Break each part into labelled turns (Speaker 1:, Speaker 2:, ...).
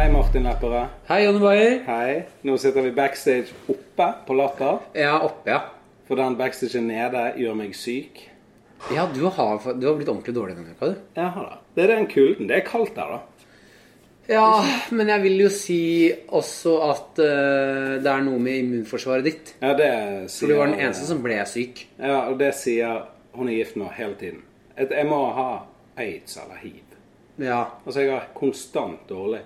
Speaker 1: Lappere.
Speaker 2: Hei, Jonny Bayer.
Speaker 1: Hei. Nå sitter vi backstage oppe på Latter.
Speaker 2: Ja, oppe, ja.
Speaker 1: For den backstagen nede gjør meg syk.
Speaker 2: Ja, du har, du har blitt ordentlig dårlig denne uka, du.
Speaker 1: Jeg har det. Det er den kulden. Det er kaldt der, da.
Speaker 2: Ja, men jeg vil jo si også at eh, det er noe med immunforsvaret ditt.
Speaker 1: Ja, det
Speaker 2: For
Speaker 1: sier
Speaker 2: du var den eneste som ble syk.
Speaker 1: Ja, og det sier hun er gift med hele tiden. At jeg må ha aids eller hiv.
Speaker 2: Ja,
Speaker 1: Altså, jeg har konstant dårlig.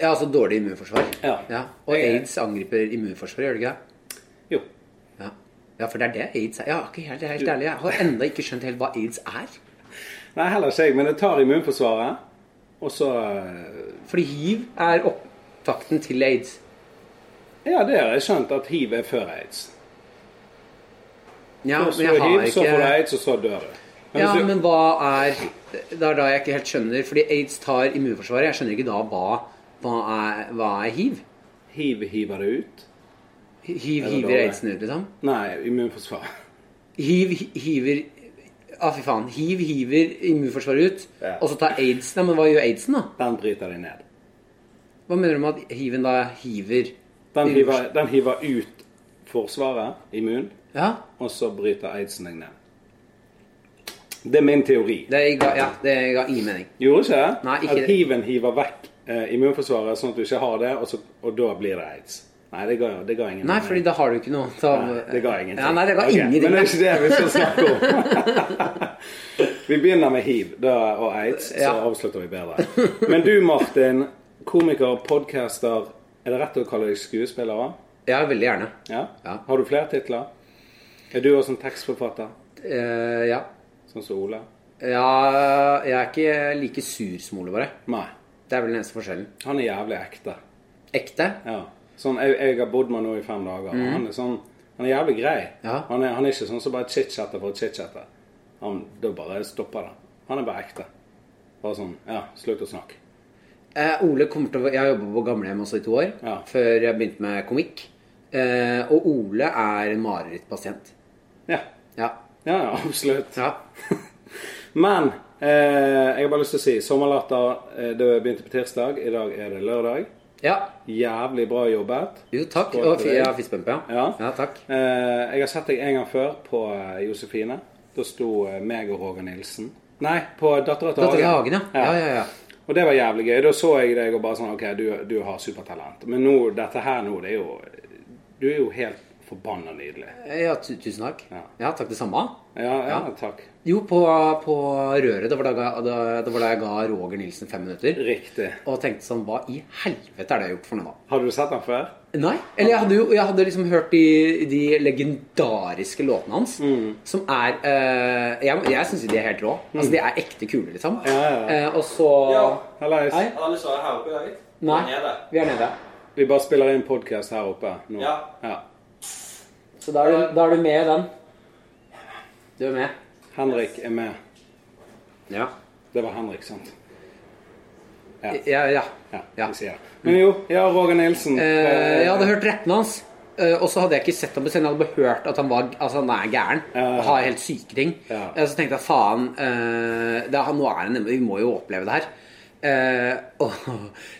Speaker 2: ja altså dårlig immunforsvar.
Speaker 1: Ja.
Speaker 2: Og
Speaker 1: Jeg-
Speaker 2: aids angriper immunforsvaret, gjør det ikke det?
Speaker 1: Jo.
Speaker 2: Ja. ja, for det er det aids er. Ja, ikke helt, helt ærlig, jeg har ennå ikke skjønt helt hva aids er.
Speaker 1: Nei, heller ikke jeg, men jeg tar immunforsvaret. Og så eh,
Speaker 2: Fordi hiv er opptakten til aids.
Speaker 1: Ja, det har jeg skjønt, at hiv er før aids.
Speaker 2: Ja,
Speaker 1: Først
Speaker 2: men
Speaker 1: får
Speaker 2: jeg
Speaker 1: du hiv,
Speaker 2: har
Speaker 1: så får du
Speaker 2: ikke
Speaker 1: aids, og så dør du. Men
Speaker 2: Ja,
Speaker 1: hvis du-
Speaker 2: men hva er Det er da jeg ikke helt skjønner, fordi aids tar immunforsvaret. Jeg skjønner ikke da hva Hva er, hva er hiv?
Speaker 1: Hiv hiver det ut?
Speaker 2: Hiv
Speaker 1: det
Speaker 2: hiver
Speaker 1: dårlig?
Speaker 2: aidsen ut, liksom?
Speaker 1: Nei, immunforsvar.
Speaker 2: Hiv hi- hiver Å, fy faen. Hiv hiver immunforsvaret ut,
Speaker 1: Ja.
Speaker 2: og så tar aids Nei, men hva gjør aidsen, da?
Speaker 1: Den bryter de ned.
Speaker 2: Hva mener du med at hiven da hiver
Speaker 1: Den hiver, den hiver ut forsvaret, immun,
Speaker 2: Ja,
Speaker 1: og så bryter aidsen deg ned. Det er min teori.
Speaker 2: det ga, ja, det ga ingen mening.
Speaker 1: Gjorde ikke det?
Speaker 2: Nei, ikke
Speaker 1: At
Speaker 2: det.
Speaker 1: hiven hiver vekk eh, immunforsvaret, sånn at du ikke har det, og, så, og da blir det aids. Nei, det ga, det ga ingen
Speaker 2: Nei, fordi da har du ikke noe da,
Speaker 1: Nei, det ga ingenting.
Speaker 2: Ja, nei, det ga
Speaker 1: Ok,
Speaker 2: ingenting.
Speaker 1: Men det er ikke det vi skal snakke om. vi begynner med hiv da, og aids, så
Speaker 2: Ja.
Speaker 1: avslutter vi bedre. Men du, Martin, komiker, podcaster Er det rett å kalle deg skuespiller? hva?
Speaker 2: Ja, veldig gjerne.
Speaker 1: Ja?
Speaker 2: Ja.
Speaker 1: Har du flere titler? Er du også en tekstforfatter,
Speaker 2: Eh, ja.
Speaker 1: sånn som Ole?
Speaker 2: Ja, jeg er ikke like sur som Ole, bare.
Speaker 1: Nei.
Speaker 2: Det er vel den eneste forskjellen.
Speaker 1: Han er jævlig ekte.
Speaker 2: Ekte?
Speaker 1: Ja. Sånn, jeg, jeg har bodd med han nå i fem dager. og Han er sånn, han er jævlig grei.
Speaker 2: Mhm. Ja.
Speaker 1: Han, er, han er ikke sånn som bare chit-chatter for å chit-chatte. Han- Da bare stopper det. Han er bare ekte. Bare sånn Ja, slutt å snakke.
Speaker 2: Eh, Ole kommer til å, Jeg har jobbet på gamlehjem også i to år,
Speaker 1: Ja.
Speaker 2: før jeg begynte med komikk. Eh, og Ole er en marerittpasient.
Speaker 1: Ja.
Speaker 2: Ja.
Speaker 1: Ja, ja, absolutt.
Speaker 2: ja.
Speaker 1: Men eh, jeg har bare lyst til å si Sommerlatter eh, det begynte på tirsdag. I dag er det lørdag.
Speaker 2: Ja.
Speaker 1: Jævlig bra jobbet.
Speaker 2: Jo, takk.
Speaker 1: Skål
Speaker 2: Og
Speaker 1: for
Speaker 2: fi-
Speaker 1: deg.
Speaker 2: ja, fistbump, ja.
Speaker 1: Ja.
Speaker 2: takk.
Speaker 1: Eh, jeg har sett deg en gang før på eh, Josefine. Da sto eh, meg og Roger Nilsen. Nei, på Dattera til
Speaker 2: Dattera til
Speaker 1: Hagen.
Speaker 2: Hagen, ja. Ja, ja, ja.
Speaker 1: Og det var jævlig gøy. Da så jeg deg og bare sånn OK, du, du har supertalent. Men nå, dette her nå, det er jo Du er jo helt forbanna nydelig.
Speaker 2: Eh, Ja, tu- tusen takk.
Speaker 1: Ja.
Speaker 2: Ja, takk det samme.
Speaker 1: Ja, ja, takk.
Speaker 2: Jo, på, på Røret. Det var, da, jeg ga- da, det var da jeg ga Roger Nilsen fem minutter.
Speaker 1: Riktig.
Speaker 2: Og tenkte sånn Hva i helvete er det jeg har gjort for noe, da?
Speaker 1: Har du sett den før?
Speaker 2: Nei. Eller jeg hadde jo jeg hadde liksom hørt de, de legendariske låtene hans.
Speaker 1: Mm.
Speaker 2: Som er eh, Jeg, jeg syns jo de er helt rå. Altså, De er ekte kule, liksom.
Speaker 1: ja, ja.
Speaker 2: Eh, og så
Speaker 1: Hallais.
Speaker 2: Hei.
Speaker 3: Alle som er her oppe i dag?
Speaker 2: Nei,
Speaker 3: Nede.
Speaker 2: vi er nede.
Speaker 1: Vi bare spiller inn podkast her oppe nå.
Speaker 3: Ja.
Speaker 2: Så da er, du, da er du med i den. Du er med.
Speaker 1: Henrik er med.
Speaker 2: Ja.
Speaker 1: Det var Henrik, sant?
Speaker 2: Ja. ja.
Speaker 1: Ja,
Speaker 2: Ja.
Speaker 1: vi sier det. Men jo, ja, Roger Nilsen.
Speaker 2: Eh,
Speaker 1: eh,
Speaker 2: jeg hadde hørt rappene hans. eh, og så hadde jeg ikke sett ham på scenen. Jeg hadde bare hørt at han, var, altså, han er gæren.
Speaker 1: Ja.
Speaker 2: Og har helt syke ting.
Speaker 1: Ja.
Speaker 2: Eh, så tenkte jeg faen eh, det er, Nå er det nemlig Vi må jo oppleve det her. Eh, og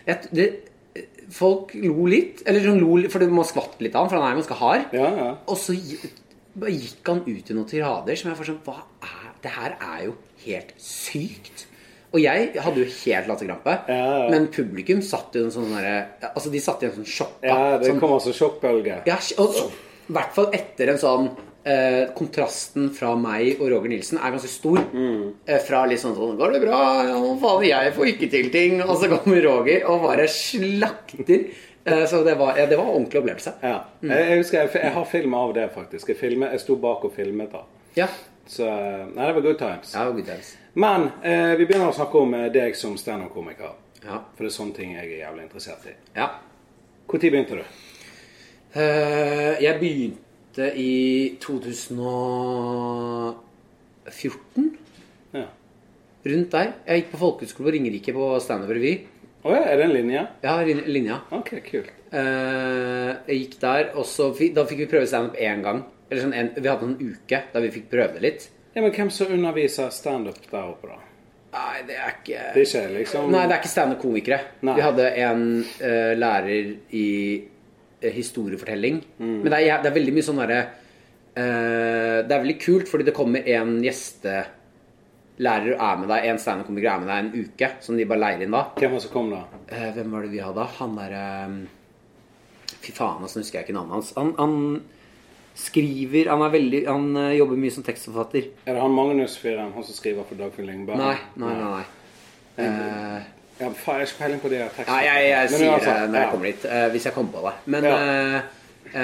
Speaker 2: jeg, det, folk lo litt. Eller sånn lo litt, for man skvatt litt av han, for han er jo ganske hard.
Speaker 1: Ja, ja.
Speaker 2: Og så gi- bare gikk han ut i noen tirader som jeg var sånn Hva er Det her er jo helt sykt. Og jeg hadde jo helt latterkrampe.
Speaker 1: Ja, ja.
Speaker 2: Men publikum satt jo i en sånn derre Altså, de satt i en sånn sjokka.
Speaker 1: Ja, det
Speaker 2: sånn,
Speaker 1: kommer altså sjokkbølge.
Speaker 2: ja, og, og, I hvert fall etter en sånn eh, Kontrasten fra meg og Roger Nilsen er ganske stor.
Speaker 1: Mm.
Speaker 2: Eh, fra litt sånn sånn 'Går det bra? Ja, hva faen, jeg får ikke til ting.' Og så kommer Roger og bare slakter. Eh, så det var, ja, det var en ordentlig opplevelse.
Speaker 1: Ja.
Speaker 2: Mm.
Speaker 1: Jeg, jeg husker, jeg, jeg har film av det, faktisk. Jeg, filmet, jeg sto bak og filmet det.
Speaker 2: Ja.
Speaker 1: Så Nei, det var good times.
Speaker 2: ja good times.
Speaker 1: Men eh, vi begynner å snakke om eh, deg som standup-komiker.
Speaker 2: Ja.
Speaker 1: For det er sånne ting jeg er jævlig interessert i.
Speaker 2: ja.
Speaker 1: Når begynte du?
Speaker 2: Eh, jeg begynte i 2014,
Speaker 1: Ja.
Speaker 2: rundt der. Jeg gikk på folkehøyskole på Ringerike på standup revy.
Speaker 1: Å ja, er det en linje?
Speaker 2: Ja, lin- linja.
Speaker 1: Ok, kult.
Speaker 2: Eh, jeg gikk der, og så fikk, da fikk vi prøve standup én gang. Eller sånn en, vi hadde en uke da vi fikk prøve det litt.
Speaker 1: Ja, men hvem som underviser standup der oppe, da?
Speaker 2: Nei, det er ikke
Speaker 1: Det er ikke liksom
Speaker 2: Nei, det er ikke standup-komikere.
Speaker 1: Nei.
Speaker 2: Vi hadde en eh, lærer i eh, historiefortelling. Men det er, jæ- det er veldig mye sånn derre eh, Det er veldig kult, fordi det kommer en gjestelærer og er med deg, en standup-komiker er med deg en uke, som de bare leier inn da.
Speaker 1: Hvem var det som kom da?
Speaker 2: Eh, hvem var det vi hadde da? Han derre Fy faen, altså, nå husker jeg ikke navnet hans. Han, han skriver Han er veldig Han eh, jobber mye som tekstforfatter.
Speaker 1: Er det han Magnus Fyren, han som skriver for Dagfinn Lyngberg?
Speaker 2: Nei, nei, nei. nei. Eh,
Speaker 1: Ja, faen, jeg har ikke peiling på det. teksten.
Speaker 2: Nei, jeg, jeg
Speaker 1: Men
Speaker 2: sier det
Speaker 1: uansett,
Speaker 2: når jeg
Speaker 1: ja.
Speaker 2: kommer dit, eh, hvis jeg kommer på det. Men
Speaker 1: Ja.
Speaker 2: eh,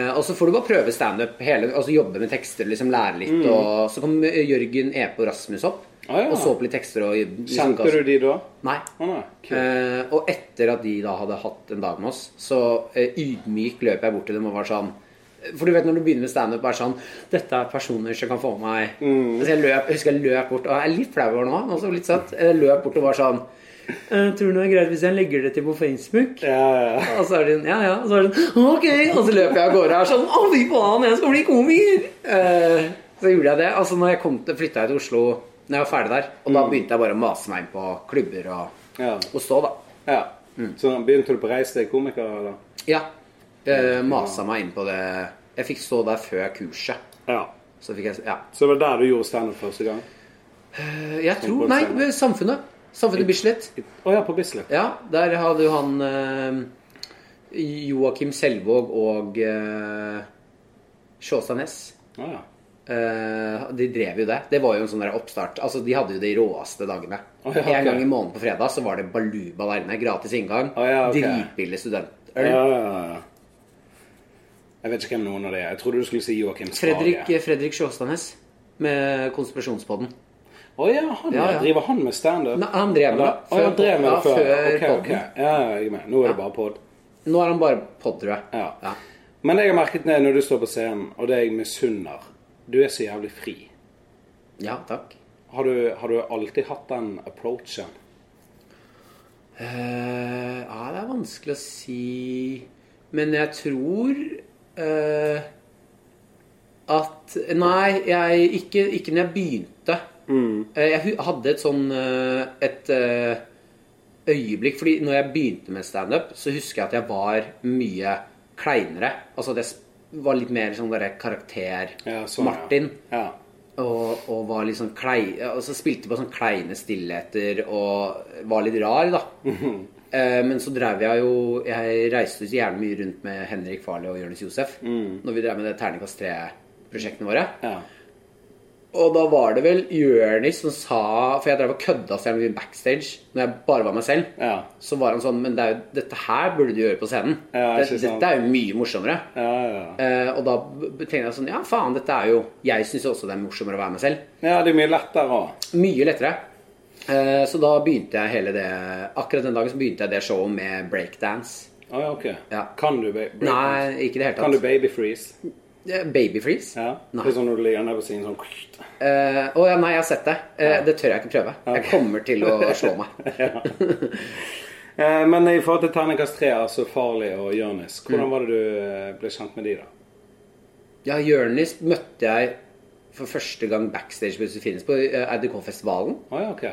Speaker 2: eh, Og så får du bare prøve standup, hele- altså jobbe med tekster, liksom lære litt. Og så kom eh, Jørgen Epe og Rasmus opp,
Speaker 1: Mm. Ah, ja.
Speaker 2: og så opp litt tekster. Og, liksom,
Speaker 1: Kjente du de da?
Speaker 2: Nei.
Speaker 1: Å nei. kult.
Speaker 2: Eh, og etter at de da hadde hatt en dag med oss, så eh, ydmyk løp jeg bort til dem og var sånn For du vet når du begynner med standup, er det sånn Dette er personer som kan få meg
Speaker 1: Mm.
Speaker 2: Så jeg, løp, jeg husker jeg løp bort, og jeg er litt flau over nå, men også litt søtt. Jeg løp bort og var sånn «Eh, Tror du det er greit hvis jeg legger det til på Facebook?
Speaker 1: Ja, ja, ja.
Speaker 2: Og så er det sånn, ja, ja. Og så er det sånn, ok. Og så løper jeg av gårde og er sånn, å fy faen, jeg skal bli komiker. Eh, så gjorde jeg det. Altså, når jeg kom til, flytta jeg til Oslo når jeg var ferdig der. Og da begynte jeg bare å mase meg inn på klubber og,
Speaker 1: Ja.
Speaker 2: og stå, da.
Speaker 1: ja.
Speaker 2: Mm.
Speaker 1: Så begynte du på Reis deg komiker, eller?
Speaker 2: Ja. Eh, masa meg inn på det. Jeg fikk stå der før kurset.
Speaker 1: Ja.
Speaker 2: Så fikk jeg Ja.
Speaker 1: Så det var der du gjorde standup første gang?
Speaker 2: Eh, Jeg tror Nei, Samfunnet. Samfunnet Bislett.
Speaker 1: Å ja, på Bislett.
Speaker 2: Ja, der hadde jo han eh, Joakim Selvåg og eh, Sjåstad Næss.
Speaker 1: Å ja.
Speaker 2: Eh, de drev jo det. Det var jo en sånn der oppstart. Altså, De hadde jo de råeste dagene.
Speaker 1: Å, ja, ok.
Speaker 2: En gang i måneden på fredag så var det baluba der inne. Gratis inngang.
Speaker 1: Å, ja, ok.
Speaker 2: Dritbillig
Speaker 1: Ja,
Speaker 2: studentøl.
Speaker 1: ja, ja. Jeg vet ikke hvem noen av de er. Jeg trodde du skulle si Joakim Skage.
Speaker 2: Fredrik, Fredrik Sjåstadnes med Konspirasjonspodden.
Speaker 1: Å ja, han
Speaker 2: eh, Ja, ja.
Speaker 1: driver han med standup?
Speaker 2: Nei, han drev med det.
Speaker 1: Å, han drev med det
Speaker 2: Ja,
Speaker 1: før?
Speaker 2: før
Speaker 1: Ok, ok.
Speaker 2: podden.
Speaker 1: Ja, ja, jeg er med. Nå er det bare pod.
Speaker 2: Nå er han bare pod, tror jeg.
Speaker 1: Ja.
Speaker 2: Ja.
Speaker 1: Men det jeg har merket ned når du står på scenen, og det jeg misunner Du er så jævlig fri.
Speaker 2: Ja, takk.
Speaker 1: Har du, har du alltid hatt den approachen?
Speaker 2: Eh, ja, det er vanskelig å si Men jeg tror eh, at Nei, jeg, ikke, ikke når jeg begynte.
Speaker 1: Mm.
Speaker 2: Eh, jeg hu- hadde et sånn eh, Et eh, øyeblikk Fordi når jeg begynte med standup, så husker jeg at jeg var mye kleinere. Altså at jeg sp- var litt mer sånn derre karakter
Speaker 1: Ja, sånn, ja.
Speaker 2: Martin.
Speaker 1: Ja.
Speaker 2: Og, og var litt sånn klei, altså spilte på sånn kleine stillheter og var litt rar, da.
Speaker 1: Mhm.
Speaker 2: Eh, Men så drev jeg jo Jeg reiste jo så jævlig mye rundt med Henrik Farley og Jonis Josef når vi drev med det Terningkast 3-prosjektene våre.
Speaker 1: Mhm. ja.
Speaker 2: Og da var det vel Jonis som sa For jeg drev og kødda så jævlig mye backstage når jeg bare var meg selv.
Speaker 1: Ja.
Speaker 2: Så var han sånn Men det er jo, dette her burde du gjøre på scenen.
Speaker 1: Ja,
Speaker 2: det,
Speaker 1: ikke sant.
Speaker 2: dette er jo mye morsommere.
Speaker 1: Ja, ja.
Speaker 2: Eh, og da b- tenkte jeg sånn Ja, faen, dette er jo Jeg syns jo også det er morsommere å være meg selv.
Speaker 1: ja, det er mye lettere òg.
Speaker 2: Mye lettere. Eh, Så da begynte jeg hele det Akkurat den dagen så begynte jeg det showet med breakdance.
Speaker 1: Å ja, ok.
Speaker 2: Ja.
Speaker 1: Kan du ba- break
Speaker 2: Nei, ikke i det
Speaker 1: Kan du
Speaker 2: hele tatt.
Speaker 1: babyfreeze?
Speaker 2: Eh, Babyfreeze?
Speaker 1: Ja. Det
Speaker 2: Nei.
Speaker 1: er sånn når du ligger nede på siden sånn
Speaker 2: Eh, Å ja, nei, jeg har sett det. Eh, Det tør jeg ikke prøve. Jeg kommer til å slå meg.
Speaker 1: Eh, Men i forhold til terningkast tre, altså Farley og Jonis,
Speaker 2: Mm.
Speaker 1: hvordan var det du eh, ble kjent med de, da?
Speaker 2: Ja, Jonis møtte jeg for første gang backstage på Josefines på eh, RDK-festivalen.
Speaker 1: Å ja, ok.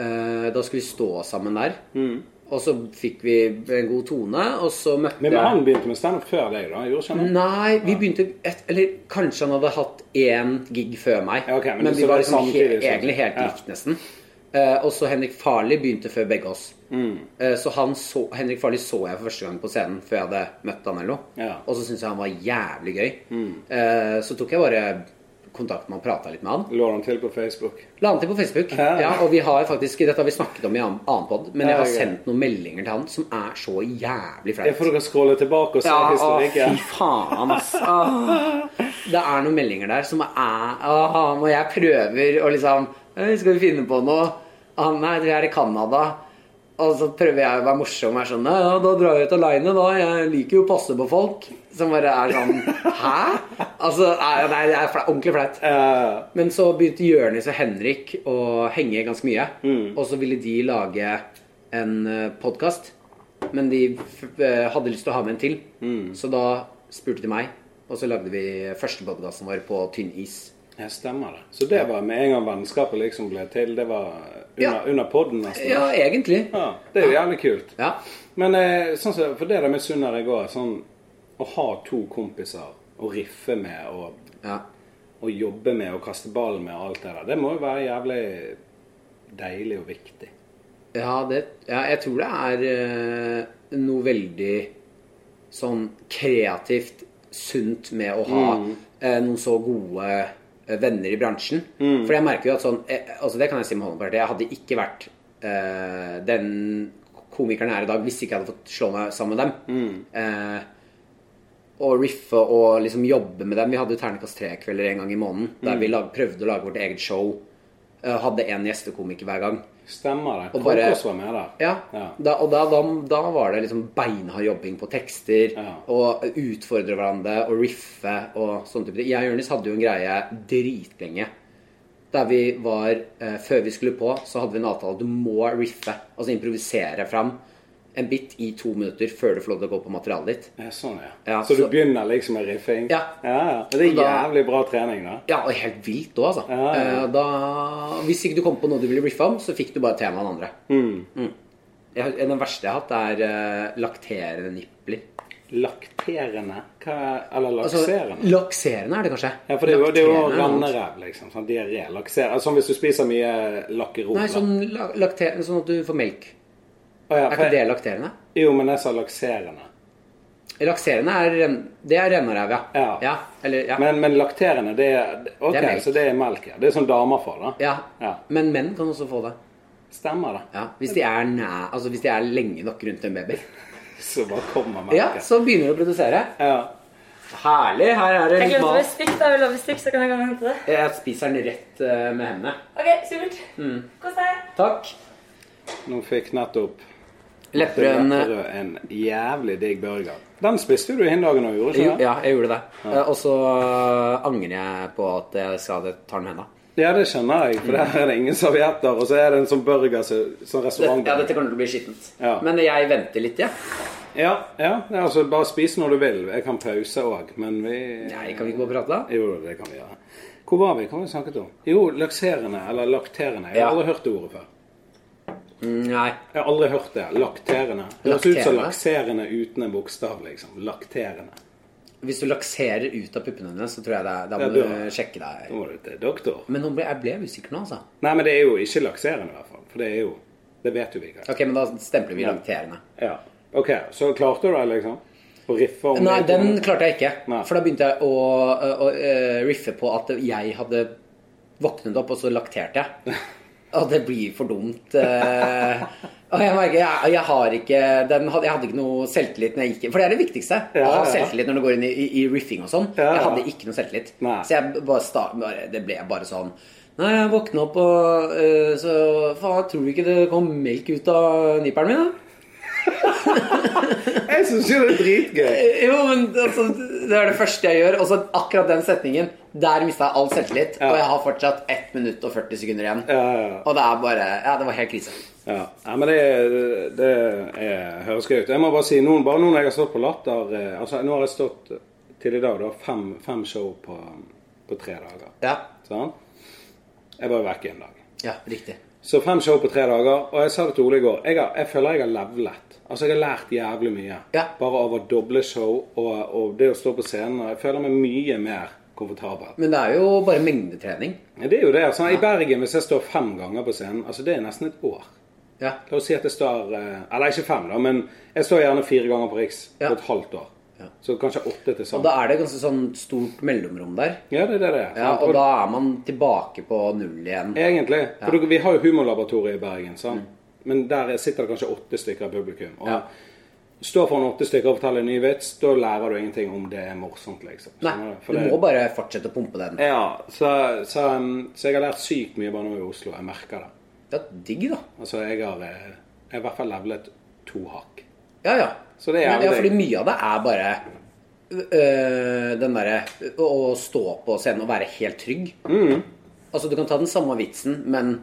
Speaker 2: Eh, Da skulle vi stå sammen der.
Speaker 1: Mm.
Speaker 2: Og så fikk vi en god tone, og så møtte
Speaker 1: Men men
Speaker 2: jeg
Speaker 1: han begynte med standup før deg, da? Gjorde ikke han det?
Speaker 2: Nei, vi begynte et, Eller kanskje han hadde hatt én gig før meg.
Speaker 1: Ja, ok, men
Speaker 2: men,
Speaker 1: så det
Speaker 2: vi var
Speaker 1: var
Speaker 2: liksom he
Speaker 1: samtidig, så-
Speaker 2: egentlig helt
Speaker 1: ja.
Speaker 2: likt, nesten. Eh, og så Henrik Farley begynte før begge oss.
Speaker 1: Mm.
Speaker 2: Eh, så, han så Henrik Farley så jeg for første gang på scenen før jeg hadde møtt han eller noe.
Speaker 1: Ja. Mm.
Speaker 2: Og så syntes jeg han var jævlig gøy. Eh, så tok jeg bare kontakt med han, prata litt med han.
Speaker 1: Lå han til på Facebook?
Speaker 2: La han til på Facebook.
Speaker 1: Ja.
Speaker 2: Ja. og vi har faktisk, Dette har vi snakket om i annen, annen pod, men
Speaker 1: Ja,
Speaker 2: jeg har
Speaker 1: ok.
Speaker 2: sendt noen meldinger til han som er så jævlig
Speaker 1: Det
Speaker 2: flaut.
Speaker 1: får dere scrolle tilbake og se
Speaker 2: Ja, å,
Speaker 1: historikken.
Speaker 2: fy faen, ass. Åh. Det er noen meldinger der som er åh, Når jeg prøver å liksom «Øy, Skal vi finne på noe? Ah, nei, vi er i Canada. Og så prøver jeg å være morsom og er sånn «Nei, Ja, da drar jeg ut aleine, da. Jeg liker jo å passe på folk. Som bare er sånn Hæ? Altså, nei, nei, det er fla- ordentlig flaut.
Speaker 1: Eh,
Speaker 2: Men så begynte Jørnis og Henrik å henge ganske mye. Og så ville de lage en podkast. Men de f eh, hadde lyst til å ha med en til. Så da spurte de meg, og så lagde vi første podkasten vår på tynn is.
Speaker 1: Ja, stemmer det. Så det var med en gang vennskapet liksom ble til. Det var under,
Speaker 2: Ja.
Speaker 1: under podden nesten.
Speaker 2: Ja, egentlig.
Speaker 1: Ja, det er jo jævlig kult.
Speaker 2: Ja.
Speaker 1: Men eh, sånn som- for det der misunner jeg òg. Sånn å ha to kompiser å riffe med og,
Speaker 2: ja.
Speaker 1: og jobbe med og kaste ball med og alt det der, det må jo være jævlig deilig og viktig.
Speaker 2: Ja, det, ja, jeg tror det er eh, noe veldig sånn kreativt sunt med å ha eh, noen så gode eh, venner i bransjen. For jeg merker jo at sånn eh, altså Det kan jeg si med hånden på hjertet. Jeg hadde ikke vært eh, den komikeren jeg er i dag hvis ikke jeg hadde fått slå meg sammen med dem. Eh, og riffe og liksom jobbe med dem. Vi hadde jo Ternekast tre-kvelder en gang i måneden der vi lag, prøvde å lage vårt eget show. Eh, hadde én gjestekomiker hver gang.
Speaker 1: Stemmer det.
Speaker 2: Og bare-
Speaker 1: Krokås var med der.
Speaker 2: Ja,
Speaker 1: Ja.
Speaker 2: Da, og da, da, da var det liksom beinhard jobbing på tekster,
Speaker 1: Ja.
Speaker 2: og utfordre hverandre, og riffe og sånne type ting. Jeg og Jonis hadde jo en greie dritlenge. Der vi var, eh, Før vi skulle på, så hadde vi en avtale. Du må riffe, altså improvisere fram en bit i to minutter før du får lov til å gå på materialet ditt.
Speaker 1: Ja, sånn, ja.
Speaker 2: Ja,
Speaker 1: så du
Speaker 2: så-
Speaker 1: begynner liksom med riffing?
Speaker 2: Ja.
Speaker 1: ja, ja. Det er
Speaker 2: Og da-
Speaker 1: jævlig bra trening, da.
Speaker 2: Ja, og helt vilt òg, altså.
Speaker 1: Ja, ja, ja.
Speaker 2: Eh, Da, hvis ikke du kom på noe du ville riffe om, så fikk du bare temaet den andre. Mm. Jeg, den verste jeg har hatt, er eh, lakterende nipler.
Speaker 1: Lakterende? Hva, eller
Speaker 2: Altså,
Speaker 1: lakserende?
Speaker 2: lakserende er det kanskje.
Speaker 1: Ja, for det er jo, det er jo
Speaker 2: Lakterende altså. er noe annet.
Speaker 1: renneræv, liksom. Sånn diaré. Lakser. Altså, som hvis du spiser mye lakkerol.
Speaker 2: Nei,
Speaker 1: da.
Speaker 2: sånn la- lakterende, sånn at du får melk.
Speaker 1: Å, ja,
Speaker 2: Er
Speaker 1: for
Speaker 2: ikke det
Speaker 1: jeg,
Speaker 2: lakterende?
Speaker 1: Jo, men jeg sa lakserende.
Speaker 2: Lakserende er, ren- det er rennaræv, ja.
Speaker 1: Ja.
Speaker 2: Eller, ja.
Speaker 1: Men, men lakterende, det er Ok,
Speaker 2: Det er melk.
Speaker 1: så det er melk, ja. Det er sånn damer får, da.
Speaker 2: ja.
Speaker 1: Ja.
Speaker 2: Men menn kan også få det.
Speaker 1: Stemmer det.
Speaker 2: Ja. Hvis, de er næ, altså, hvis de er lenge nok rundt en baby.
Speaker 1: Så bare kommer melken.
Speaker 2: Ja, så begynner de å produsere.
Speaker 1: Ja.
Speaker 2: Herlig! Her er det
Speaker 3: Jeg
Speaker 2: litt
Speaker 3: glemte
Speaker 2: mat.
Speaker 3: bestikk. Da vil du ha bestikk, så kan jeg komme og hente det.
Speaker 2: Jeg spiser den rett eh, med hendene.
Speaker 3: Ok, supert. Kos deg.
Speaker 2: Takk.
Speaker 1: Nå fikk nettopp
Speaker 2: Lepperød eh,
Speaker 1: Lepperød en jævlig digg burger. Den spiste du den dagen og gjorde
Speaker 2: jo,
Speaker 1: ikke det?
Speaker 2: Ja, jeg gjorde det. Eh, Og så eh, angrer jeg på at jeg sa at jeg tar den med hendene.
Speaker 1: Ja, det skjønner jeg, for der er det ingen servietter, og så er det en sånn burger som- sånn
Speaker 2: Dette, ja,
Speaker 1: restaurantburger.
Speaker 2: dette kommer til å bli skittent.
Speaker 1: Ja.
Speaker 2: Men jeg venter litt, jeg.
Speaker 1: Ja, ja, det er altså bare spis når du vil. Jeg kan pause òg, men vi
Speaker 2: Ja. Nei, kan vi ikke bare prate, da?
Speaker 1: Jo, det kan vi gjøre. Hvor var vi? Hva var det vi snakket om? Jo, lakserende, eller lakterende. Jeg har
Speaker 2: Ja.
Speaker 1: aldri hørt det ordet før.
Speaker 2: Mm, Nei.
Speaker 1: Jeg har aldri hørt det. Lakterende. Det høres ut som
Speaker 2: Lakterende?
Speaker 1: lakserende uten en bokstav, liksom. Lakterende.
Speaker 2: Hvis du lakserer ut av puppene dine, så tror jeg det er Da
Speaker 1: Ja,
Speaker 2: må
Speaker 1: du
Speaker 2: du
Speaker 1: har-
Speaker 2: sjekke deg.
Speaker 1: Da må du til doktor.
Speaker 2: Men nå ble, jeg ble usikker nå, altså.
Speaker 1: Nei, men det er jo ikke lakserende, i hvert fall. For det er jo Det vet jo vi ikke.
Speaker 2: Ok, men da stempler vi lakterende.
Speaker 1: Ja. OK, så klarte du det, liksom? Å riffe om
Speaker 2: Nei,
Speaker 1: det?
Speaker 2: den klarte jeg ikke.
Speaker 1: Nei.
Speaker 2: For da begynte jeg å, å, eh, riffe på at jeg hadde våknet opp, og så lakterte jeg. Og det blir for dumt. eh. Og jeg merker, jeg, jeg har ikke den hadde, Jeg hadde ikke noe selvtillit når jeg gikk For det er det viktigste.
Speaker 1: Ja,
Speaker 2: å ha
Speaker 1: ja.
Speaker 2: selvtillit når du går inn i, i, i riffing og sånn.
Speaker 1: Ja,
Speaker 2: Jeg
Speaker 1: ja.
Speaker 2: hadde ikke noe selvtillit.
Speaker 1: Nei.
Speaker 2: Så jeg bare, sta, bare Det ble bare sånn Nei, jeg våkna opp og eh, Så faen, tror du ikke det kom melk ut av nipperen min, da?
Speaker 1: Jeg syns jo det er dritgøy.
Speaker 2: Jo, men altså, Det er det første jeg gjør. Og så akkurat den setningen. Der mista jeg all selvtillit.
Speaker 1: Ja.
Speaker 2: Og jeg har fortsatt 1 minutt og 40 sekunder igjen.
Speaker 1: Ja, ja, ja.
Speaker 2: Og det er bare Ja, det var helt krise.
Speaker 1: Ja, Nei, men det, det er, høres gøy ut. Jeg må bare si, noen, bare noen jeg har stått på latter eh, altså Nå har jeg stått til i dag da, fem, fem show på, på tre dager.
Speaker 2: Ja.
Speaker 1: Sånn? Jeg var jo vekke en dag.
Speaker 2: ja riktig.
Speaker 1: Så fem show på tre dager, og jeg sa det til Ole i går. Jeg, har, jeg føler jeg har levlet. Altså, jeg har lært jævlig mye.
Speaker 2: Ja.
Speaker 1: Bare av å doble show og, og det å stå på scenen. og Jeg føler meg mye mer komfortabel.
Speaker 2: Men det er jo bare mengdetrening.
Speaker 1: Ja, Det er jo det. altså I Bergen, hvis jeg står fem ganger på scenen, altså det er nesten et år.
Speaker 2: Ja.
Speaker 1: La oss si at jeg står eh, Eller ikke fem, da, men jeg står gjerne fire ganger på Riks på
Speaker 2: Ja.
Speaker 1: et halvt år.
Speaker 2: Ja.
Speaker 1: Så kanskje åtte til
Speaker 2: Og
Speaker 1: sammen.
Speaker 2: da er det ganske sånn stort mellomrom der.
Speaker 1: Ja, det er det det er.
Speaker 2: Ja,
Speaker 1: sant?
Speaker 2: og da er man tilbake på null igjen.
Speaker 1: Egentlig. For dere- vi har jo Humorlaboratoriet i Bergen, sant? men der sitter det kanskje åtte stykker i publikum. Og
Speaker 2: Mm. Ja.
Speaker 1: Stå foran åtte stykker og fortelle en ny vits, da lærer du ingenting om det er morsomt, liksom.
Speaker 2: Nei,
Speaker 1: Skjønner For
Speaker 2: du
Speaker 1: det-
Speaker 2: må bare fortsette å pumpe den.
Speaker 1: Ja, så, så, um, så jeg har lært sykt mye bare nå i Oslo. Jeg merker det.
Speaker 2: Det er digg, da.
Speaker 1: Altså, jeg har, eh, jeg har i hvert fall levelet to hakk.
Speaker 2: Ja, ja.
Speaker 1: Så det er
Speaker 2: Men, ja,
Speaker 1: det.
Speaker 2: fordi mye av det er bare øh, den derre å å stå på scenen og være helt trygg.
Speaker 1: Mm.
Speaker 2: Altså, du kan ta den samme vitsen, men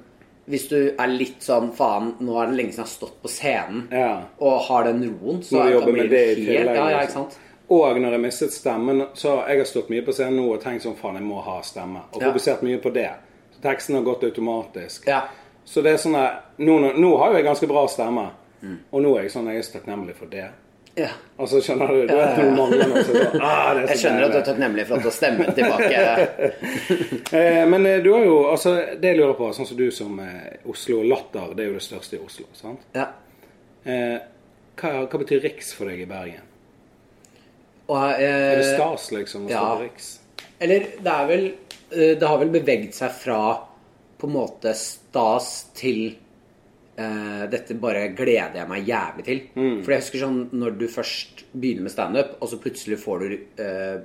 Speaker 2: hvis du er litt sånn Faen, nå er det lenge siden jeg har stått på scenen
Speaker 1: Ja.
Speaker 2: og har den roen, så
Speaker 1: Når du
Speaker 2: er- da
Speaker 1: jobber
Speaker 2: blir
Speaker 1: med det i
Speaker 2: helt
Speaker 1: tillegg,
Speaker 2: Ja, ja,
Speaker 1: liksom.
Speaker 2: ikke sant?
Speaker 1: Og når jeg mistet stemmen, så jeg har stått mye på scenen nå og tenkt sånn faen, jeg må ha stemme. Og
Speaker 2: Ja.
Speaker 1: fokusert mye på det. Så teksten har gått automatisk.
Speaker 2: Ja.
Speaker 1: Så det er sånn at nå, nå har jo jeg ganske bra stemme.
Speaker 2: Mm.
Speaker 1: Og nå er jeg sånn jeg er så takknemlig for det.
Speaker 2: ja.
Speaker 1: Altså, skjønner du? Du
Speaker 2: Ja,
Speaker 1: vet
Speaker 2: ja, ja.
Speaker 1: noen mangler noe, så da, ah, det er så
Speaker 2: Jeg skjønner at du
Speaker 1: deilig.
Speaker 2: er takknemlig for at du har stemmen tilbake.
Speaker 1: Eh, Men eh, du har jo altså, Det jeg lurer på, sånn som du som eh, Oslo Latter, det er jo det største i Oslo, sant?
Speaker 2: Ja.
Speaker 1: Eh, hva, hva betyr Riks for deg i Bergen?
Speaker 2: Og,
Speaker 1: Er det
Speaker 2: eh,
Speaker 1: stas, liksom, å stå
Speaker 2: ja.
Speaker 1: på Riks?
Speaker 2: Eller det er vel eh, Det har vel beveget seg fra på en måte stas til eh, dette bare gleder jeg meg jævlig til. For jeg husker sånn når du først begynner med standup, og så plutselig får du eh,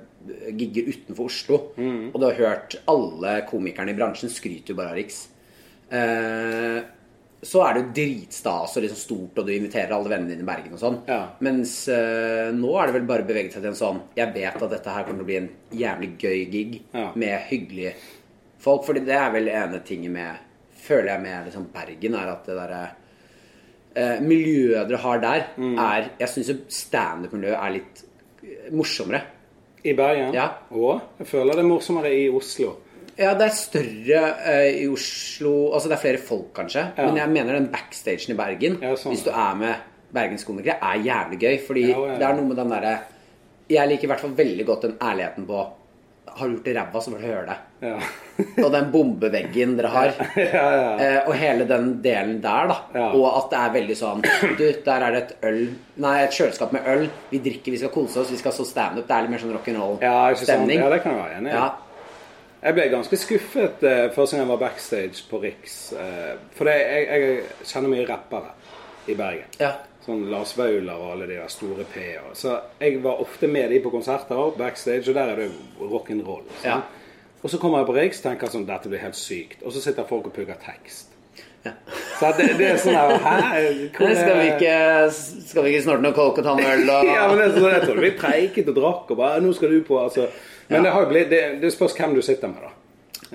Speaker 2: gigger utenfor Oslo, og du har hørt alle komikerne i bransjen skryter jo bare av Riks. Eh, så er det jo dritstas og liksom stort, og du inviterer alle vennene dine i Bergen og sånn.
Speaker 1: Ja.
Speaker 2: Mens eh, nå er det vel bare beveget seg til en sånn Jeg vet at dette her kommer til å bli en jævlig gøy gig
Speaker 1: Ja.
Speaker 2: med hyggelige folk. Fordi det er vel ene tinget med Føler jeg med liksom Bergen, er at det derre eh, miljøet dere har der, er Jeg syns jo standup-miljøet er litt eh, morsommere.
Speaker 1: I Bergen?
Speaker 2: Ja.
Speaker 1: Og jeg føler det er morsommere i Oslo.
Speaker 2: Ja, det er større eh, i Oslo Altså det er flere folk, kanskje.
Speaker 1: Ja.
Speaker 2: Men jeg mener den backstagen i Bergen,
Speaker 1: Ja, sånn.
Speaker 2: hvis du er med bergenskomikere, er jævlig gøy. Fordi
Speaker 1: Ja, ja, ja.
Speaker 2: det er noe med den derre Jeg liker i hvert fall veldig godt den ærligheten på Har du gjort det ræva, så får du høre det.
Speaker 1: Ja.
Speaker 2: Og den bombeveggen dere har.
Speaker 1: ja, ja.
Speaker 2: Eh, og hele den delen der, da.
Speaker 1: Ja.
Speaker 2: Og at det er veldig sånn Du, der er det et øl Nei, et kjøleskap med øl. Vi drikker, vi skal kose oss, vi skal stå standup. Det er litt mer sånn
Speaker 1: Ja, ikke sant?
Speaker 2: rock'n'roll-stemning.
Speaker 1: ja, det kan jeg være enig i.
Speaker 2: ja.
Speaker 1: Jeg ble ganske skuffet eh, første gang jeg var backstage på Riks. Eh, for det, jeg, jeg kjenner mye rappere i Bergen.
Speaker 2: Ja.
Speaker 1: Sånn Lars Vaular og alle de der store P-er. Så jeg var ofte med de på konserter og backstage, og der er det jo rock'n'roll. sant?
Speaker 2: Ja.
Speaker 1: Og så kommer jeg på Riks og tenker sånn Dette blir helt sykt. Og så sitter folk og pugger tekst. Så det, det er sånn her Hæ? Hvor
Speaker 2: Men Skal vi
Speaker 1: er-
Speaker 2: ikke, skal vi ikke snorte noe coke og ta noe øl og
Speaker 1: ja, men det, er sånn, jeg tror vi preiket og drakk og bare Nå skal du på, altså. Men det, har jo blitt, det, det spørs hvem du sitter med, da.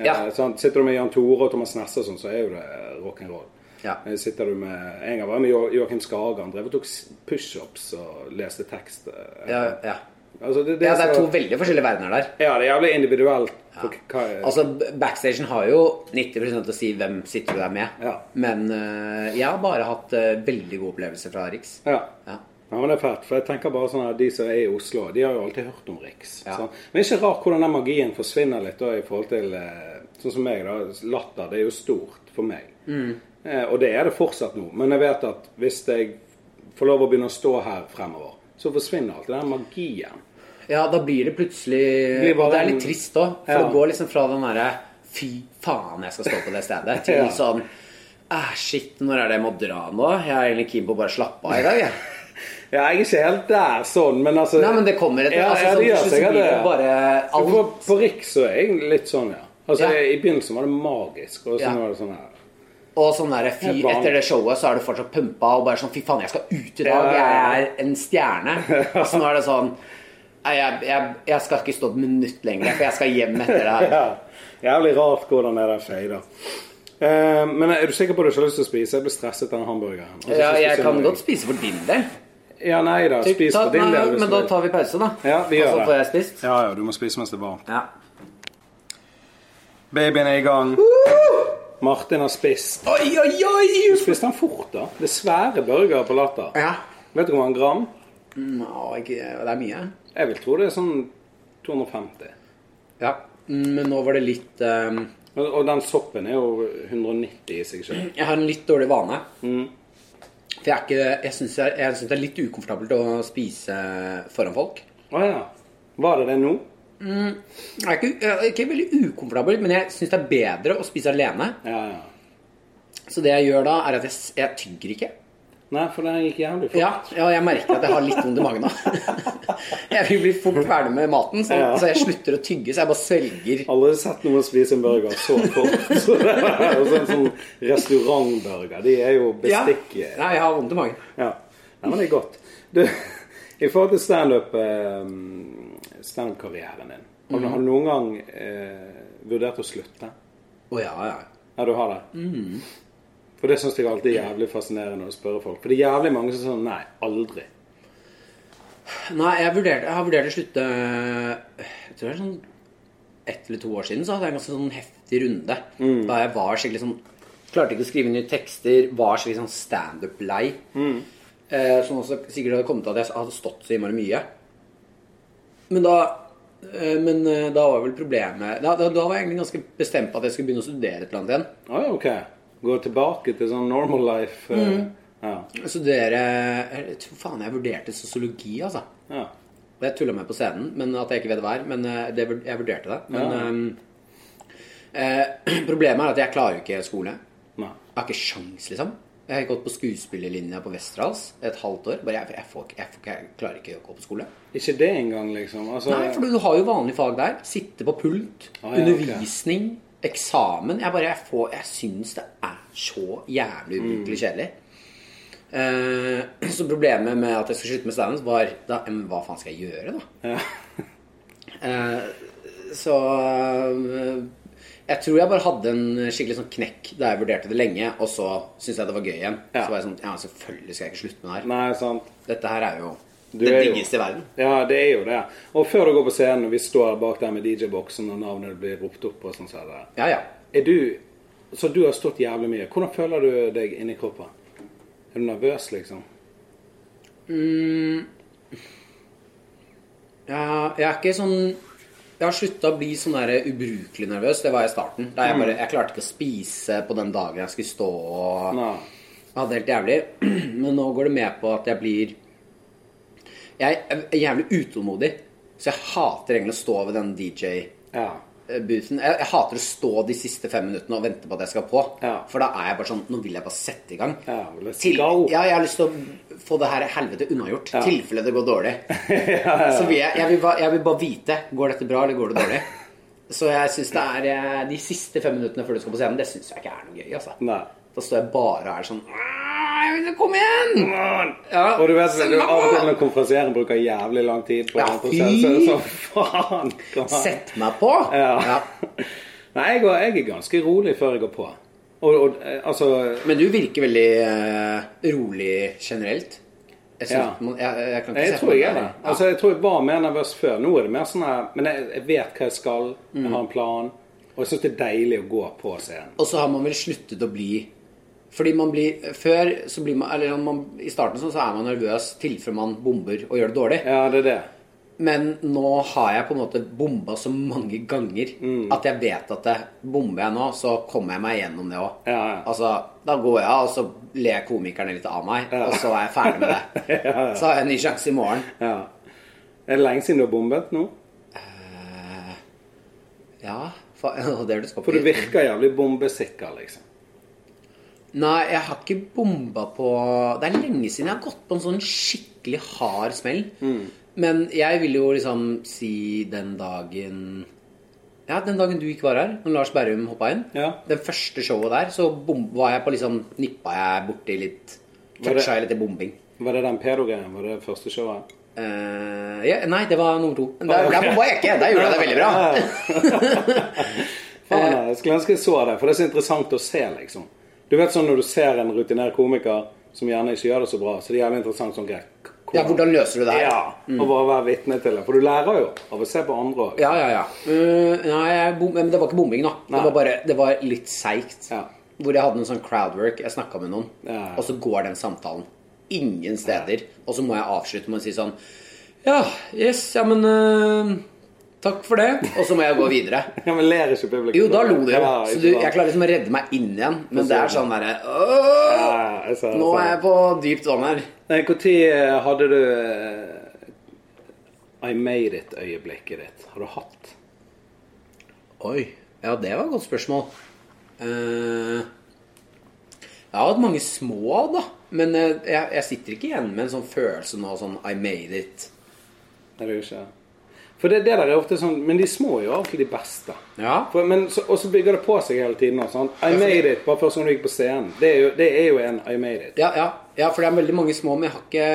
Speaker 1: Eh,
Speaker 2: Ja.
Speaker 1: sant? Sitter du med Jan Tore og Thomas Nesse og sånn, så er jo det rock'n'roll.
Speaker 2: Ja.
Speaker 1: Eh, Sitter du med En gang var jeg med Jo- Joakim Skage. Han drev og tok s- pushups og leste tekst. eh.
Speaker 2: ja, ja.
Speaker 1: Altså, det, det,
Speaker 2: ja, det er
Speaker 1: så-
Speaker 2: to veldig forskjellige verdener der.
Speaker 1: Ja, det er jævlig individuelt. For hva,
Speaker 2: Altså, Backstagen har jo 90 å si hvem sitter du der med.
Speaker 1: Ja.
Speaker 2: Men eh, jeg har bare hatt eh, veldig gode opplevelser fra Riks.
Speaker 1: ja.
Speaker 2: Ja.
Speaker 1: Ja, men det er fett, for jeg tenker bare sånn at De som er i Oslo, de har jo alltid hørt om Riks.
Speaker 2: Ja.
Speaker 1: sant? Men det er ikke rart hvordan den magien forsvinner litt da, i forhold til eh, sånn som meg. da, Latter det er jo stort for meg.
Speaker 2: Mm.
Speaker 1: Eh, og det er det fortsatt nå. Men jeg vet at hvis jeg får lov å begynne å stå her fremover, så forsvinner alltid den magien.
Speaker 2: Ja, da blir det plutselig
Speaker 1: blir bare
Speaker 2: Og det er
Speaker 1: en-
Speaker 2: litt trist òg. For
Speaker 1: Ja.
Speaker 2: det går liksom fra den derre Fy faen, jeg skal stå på det stedet, til
Speaker 1: Ja.
Speaker 2: sånn Æh, shit, når er det jeg må dra nå? Jeg er egentlig keen på å bare slappe av i dag, jeg.
Speaker 1: Ja, jeg er ikke helt der sånn, men altså
Speaker 2: Nei, men det kommer etter.
Speaker 1: Ja,
Speaker 2: altså,
Speaker 1: ja,
Speaker 2: sånn,
Speaker 1: det gjør
Speaker 2: plutselig så
Speaker 1: sikkert
Speaker 2: blir det
Speaker 1: det.
Speaker 2: bare
Speaker 1: Ja,
Speaker 2: alt
Speaker 1: På, på Riks så er jeg litt sånn, ja. Altså,
Speaker 2: Ja.
Speaker 1: I begynnelsen var det magisk, og så
Speaker 2: Ja.
Speaker 1: nå er det sånn her.
Speaker 2: Og sånn der, fy,
Speaker 1: Helt vanlig.
Speaker 2: etter det showet så er du fortsatt pumpa og bare sånn Fy faen, jeg skal ut i dag.
Speaker 1: Ja, ja, ja.
Speaker 2: Jeg er en stjerne. Og så nå er det sånn Nei, jeg, jeg, jeg skal ikke stå et minutt lenger, for jeg skal hjem etter det her.
Speaker 1: Ja. Jævlig rart hvordan det der fader. Eh, men er du sikker på at du ikke har lyst til å spise? Jeg ble stresset av den hamburgeren. Altså,
Speaker 2: Ja,
Speaker 1: synes
Speaker 2: jeg
Speaker 1: synd
Speaker 2: kan
Speaker 1: om
Speaker 2: godt
Speaker 1: deg.
Speaker 2: spise for din del.
Speaker 1: Ja, nei da. Spis
Speaker 2: Ta-
Speaker 1: for din
Speaker 2: nei,
Speaker 1: del. hvis
Speaker 2: Men
Speaker 1: du
Speaker 2: da
Speaker 1: vil.
Speaker 2: tar vi pause, da.
Speaker 1: Ja, vi gjør
Speaker 2: og
Speaker 1: det.
Speaker 2: så får jeg spist.
Speaker 1: Ja, ja, du må spise mens det er varmt.
Speaker 2: Ja.
Speaker 1: Babyen er i gang. Martin har spist.
Speaker 2: Oi, oi, oi!
Speaker 1: Spiste han fort, da? Det er svære burgere på Latter.
Speaker 2: Ja.
Speaker 1: Vet du hvor mange gram?
Speaker 2: Nå, ikke, det er mye.
Speaker 1: Jeg vil tro det er sånn 250.
Speaker 2: Ja. Mm, Men nå var det litt ehm,
Speaker 1: Og, og den soppen er jo 190 i seg selv.
Speaker 2: Jeg har en litt dårlig vane. For jeg, er ikke, jeg syns jeg, jeg synes det er litt ukomfortabelt å spise foran folk.
Speaker 1: Å ja. Var det det nå?
Speaker 2: Jeg er ikke, jeg er ikke veldig ukomfortabel, men jeg syns det er bedre å spise alene.
Speaker 1: Ja, ja.
Speaker 2: Så det jeg gjør da, er at jeg, s- jeg tygger ikke.
Speaker 1: Nei, for den gikk jævlig fort.
Speaker 2: Ja, ja, jeg merker at jeg har litt vondt i magen nå. Jeg vil bli fort ferdig med maten, så,
Speaker 1: Ja.
Speaker 2: så jeg slutter å tygge. Så jeg bare svelger.
Speaker 1: Aldri sett noen spise en burger så fort. Så det er jo sånn, sånn restaurantburger. De er jo
Speaker 2: Ja.
Speaker 1: bestikk Ja.
Speaker 2: Nei, jeg har vondt i magen.
Speaker 1: Nei, men det er godt. Du, i forhold til standup eh, standup-karrieren din, har du,
Speaker 2: Mhm.
Speaker 1: har du noen gang eh, vurdert å slutte?
Speaker 2: Å ja, ja.
Speaker 1: Ja, du har det?
Speaker 2: Mhm.
Speaker 1: For det syns jeg alltid er jævlig fascinerende å spørre folk. For det er jævlig mange som sier sånn nei, aldri.
Speaker 2: Nei, jeg, vurderte, jeg har vurdert å slutte Jeg tror det er sånn ett eller to år siden så hadde jeg en ganske sånn heftig runde. Da jeg var skikkelig sånn Klarte ikke å skrive nye tekster, var skikkelig sånn standup-lei. Eh, som også sikkert hadde kommet av at jeg hadde stått så innmari mye. Men da eh, men eh, da var vel problemet da, da, da var jeg egentlig ganske bestemt på at jeg skulle begynne å studere et eller annet igjen.
Speaker 1: Å ja, OK. Gå tilbake til sånn normal life. eh,
Speaker 2: Mhm.
Speaker 1: Ja.
Speaker 2: Studere Jeg tror faen jeg vurderte sosiologi, altså.
Speaker 1: ja.
Speaker 2: Det tulla med på scenen, men at jeg ikke vet hva er. Men eh, det, vur- jeg vurderte det. Men ehm, eh, problemet er at jeg klarer jo ikke skole.
Speaker 1: Nei.
Speaker 2: Jeg har ikke sjans, liksom. Jeg har gått på skuespillerlinja på Westerdals et halvt år. Bare jeg, jeg, får, ikke- jeg, får, ikke- jeg klarer ikke å gå på skole.
Speaker 1: Ikke det engang, liksom. Altså,
Speaker 2: Nei, for du har jo vanlige fag der. Sitte på pult,
Speaker 1: Ah, ja, ok.
Speaker 2: undervisning, eksamen. Jeg bare jeg får, jeg syns det er så jævlig
Speaker 1: Mm.
Speaker 2: ubrukelig kjedelig. Eh, så problemet med at jeg skulle slutte med standup, var da Men hva faen skal jeg gjøre, da? Eh, så eh, jeg tror jeg bare hadde en skikkelig sånn knekk da jeg vurderte det lenge, og så syntes jeg det var gøy igjen.
Speaker 1: Ja.
Speaker 2: Så var jeg sånn Ja, selvfølgelig skal jeg ikke slutte med det her.
Speaker 1: Nei, sant.
Speaker 2: Dette her er jo
Speaker 1: Du
Speaker 2: det
Speaker 1: er jo-
Speaker 2: diggeste i verden.
Speaker 1: Ja, det er jo det. Og før du går på scenen, og vi står bak der med DJ-boksen, og navnet blir ropt opp og sånn, så er det
Speaker 2: Ja, ja.
Speaker 1: Er du Så du har stått jævlig mye. Hvordan føler du deg inni kroppen? Er du nervøs, liksom?
Speaker 2: Ja, jeg er ikke sånn Jeg har slutta å bli sånn der ubrukelig nervøs. Det var jeg i starten. Da jeg, bare, jeg klarte ikke å spise på den dagen jeg skulle stå og
Speaker 1: Nei.
Speaker 2: Jeg hadde det helt jævlig. Men nå går det med på at jeg blir Jeg er jævlig utålmodig. Så jeg hater egentlig å stå ved den DJ-boothen.
Speaker 1: Ja.
Speaker 2: Jeg, jeg hater å stå de siste fem minuttene og vente på at jeg skal på.
Speaker 1: Ja.
Speaker 2: For da er jeg bare sånn Nå vil jeg bare sette i gang.
Speaker 1: Ja, let's
Speaker 2: Til,
Speaker 1: go.
Speaker 2: ja, jeg har lyst til å få det her helvete unnagjort.
Speaker 1: Ja.
Speaker 2: Tilfelle det går dårlig. Så vil jeg, jeg, vil bare, jeg vil bare vite Går dette bra, eller går det dårlig. Så jeg syns det er eh, de siste fem minuttene før du skal på scenen, det syns jeg ikke er noe gøy. Altså.
Speaker 1: Nei.
Speaker 2: Da står jeg bare og er sånn «Åh, jeg vil Kom igjen! Ja,
Speaker 1: og du vet,
Speaker 2: send
Speaker 1: du,
Speaker 2: meg
Speaker 1: av og til
Speaker 2: på!
Speaker 1: når konferansieren bruker jævlig lang tid på
Speaker 2: Ja,
Speaker 1: en prosess, så er det
Speaker 2: fy!
Speaker 1: sånn Faen! kom an.
Speaker 2: Sett meg på!
Speaker 1: Ja.
Speaker 2: Ja.
Speaker 1: Nei, jeg, går, jeg er ganske rolig før jeg går på. Og, og eh, altså
Speaker 2: Men du virker veldig eh, rolig generelt. Jeg, synes,
Speaker 1: Ja.
Speaker 2: man, jeg, jeg kan ikke
Speaker 1: Jeg
Speaker 2: se
Speaker 1: tror jeg er
Speaker 2: deg.
Speaker 1: det. Altså, jeg tror jeg var mer nervøs før. Nå er det mer sånn her Men jeg, jeg vet hva jeg skal,
Speaker 2: Mm.
Speaker 1: jeg har en plan, og jeg syns det er deilig å gå på scenen.
Speaker 2: Og så har man vel sluttet å bli Fordi man blir Før så blir man Eller man, i starten sånn, så, så er man nervøs tilfelle man bomber og gjør det dårlig.
Speaker 1: Ja, det er det.
Speaker 2: Men nå har jeg på en måte bomba så mange ganger
Speaker 1: Mm.
Speaker 2: at jeg vet at det, bomber jeg nå, så kommer jeg meg gjennom det òg.
Speaker 1: Ja, ja.
Speaker 2: Altså, da går jeg, og så ler komikerne litt av meg, og så er jeg ferdig med det. Så har jeg en ny sjanse i morgen.
Speaker 1: Ja. Er det lenge siden du har bombet nå?
Speaker 2: Ja, fa det er det skal
Speaker 1: For du virker jævlig bombesikker, liksom.
Speaker 2: Nei, jeg har ikke bomba på Det er lenge siden jeg har gått på en sånn skikkelig hard smell.
Speaker 1: Mm.
Speaker 2: Men jeg vil jo liksom si den dagen Ja, den dagen du ikke var her, når Lars Berrum hoppa inn.
Speaker 1: Ja.
Speaker 2: Den første showet der, så bom, var jeg på liksom Nippa jeg borti litt
Speaker 1: Var det-
Speaker 2: Toucha jeg litt i bombing.
Speaker 1: Var det den pedo-greien? Var det det første showet?
Speaker 2: Eh, ja, nei, det var nummer to. Men
Speaker 1: Ah,
Speaker 2: Der, der bomba jeg ikke! Der gjorde jeg det veldig bra.
Speaker 1: Ja, ja. Faen, jeg skulle ønske jeg så det, for det er så interessant å se, liksom. Du vet sånn når du ser en rutinert komiker som gjerne ikke gjør det så bra, så det er jævlig interessant sånn greit.
Speaker 2: Ja, hvordan løser du det her?
Speaker 1: Ja, og bare være vitne til det. For du lærer jo av å se på andre òg.
Speaker 2: Mm. Ja, ja, ja. Eh, nei, jeg bom, men det var ikke bombing, da.
Speaker 1: Nei.
Speaker 2: Det var bare det var litt seigt.
Speaker 1: Ja.
Speaker 2: Hvor jeg hadde en sånn crowdwork. Jeg snakka med noen,
Speaker 1: Ja.
Speaker 2: og så går den samtalen ingen steder. Og så må jeg avslutte med å si sånn Ja, yes, ja, men eh, Takk for det. Og så må jeg gå videre.
Speaker 1: men ler ikke publikum.
Speaker 2: Jo, da lo de jo.
Speaker 1: Ja,
Speaker 2: Så
Speaker 1: ikke
Speaker 2: du,
Speaker 1: sant?
Speaker 2: jeg klarer liksom å redde meg inn igjen. Men det er sånn derre
Speaker 1: Ja,
Speaker 2: «Åh,
Speaker 1: ja, jeg ser det, jeg ser
Speaker 2: Nå er
Speaker 1: det.
Speaker 2: jeg på dypt vann her.
Speaker 1: Nei, Når eh, hadde du eh, I made it-øyeblikket ditt? Har du hatt?
Speaker 2: Oi. Ja, det var et godt spørsmål. Eh, jeg har hatt mange små, da. Men eh, jeg, jeg sitter ikke igjen med en sånn følelse nå sånn I made it.
Speaker 1: Nei, det er jo ikke For det, det der er ofte sånn Men de små er jo alltid de beste.
Speaker 2: Ja.
Speaker 1: For, men, så, og så bygger det på seg hele tiden. Og sånn. I made it bare første gang du gikk på scenen. Det er, jo, det er jo en I made it.
Speaker 2: Ja, ja, ja, for det er veldig mange små, men jeg har ikke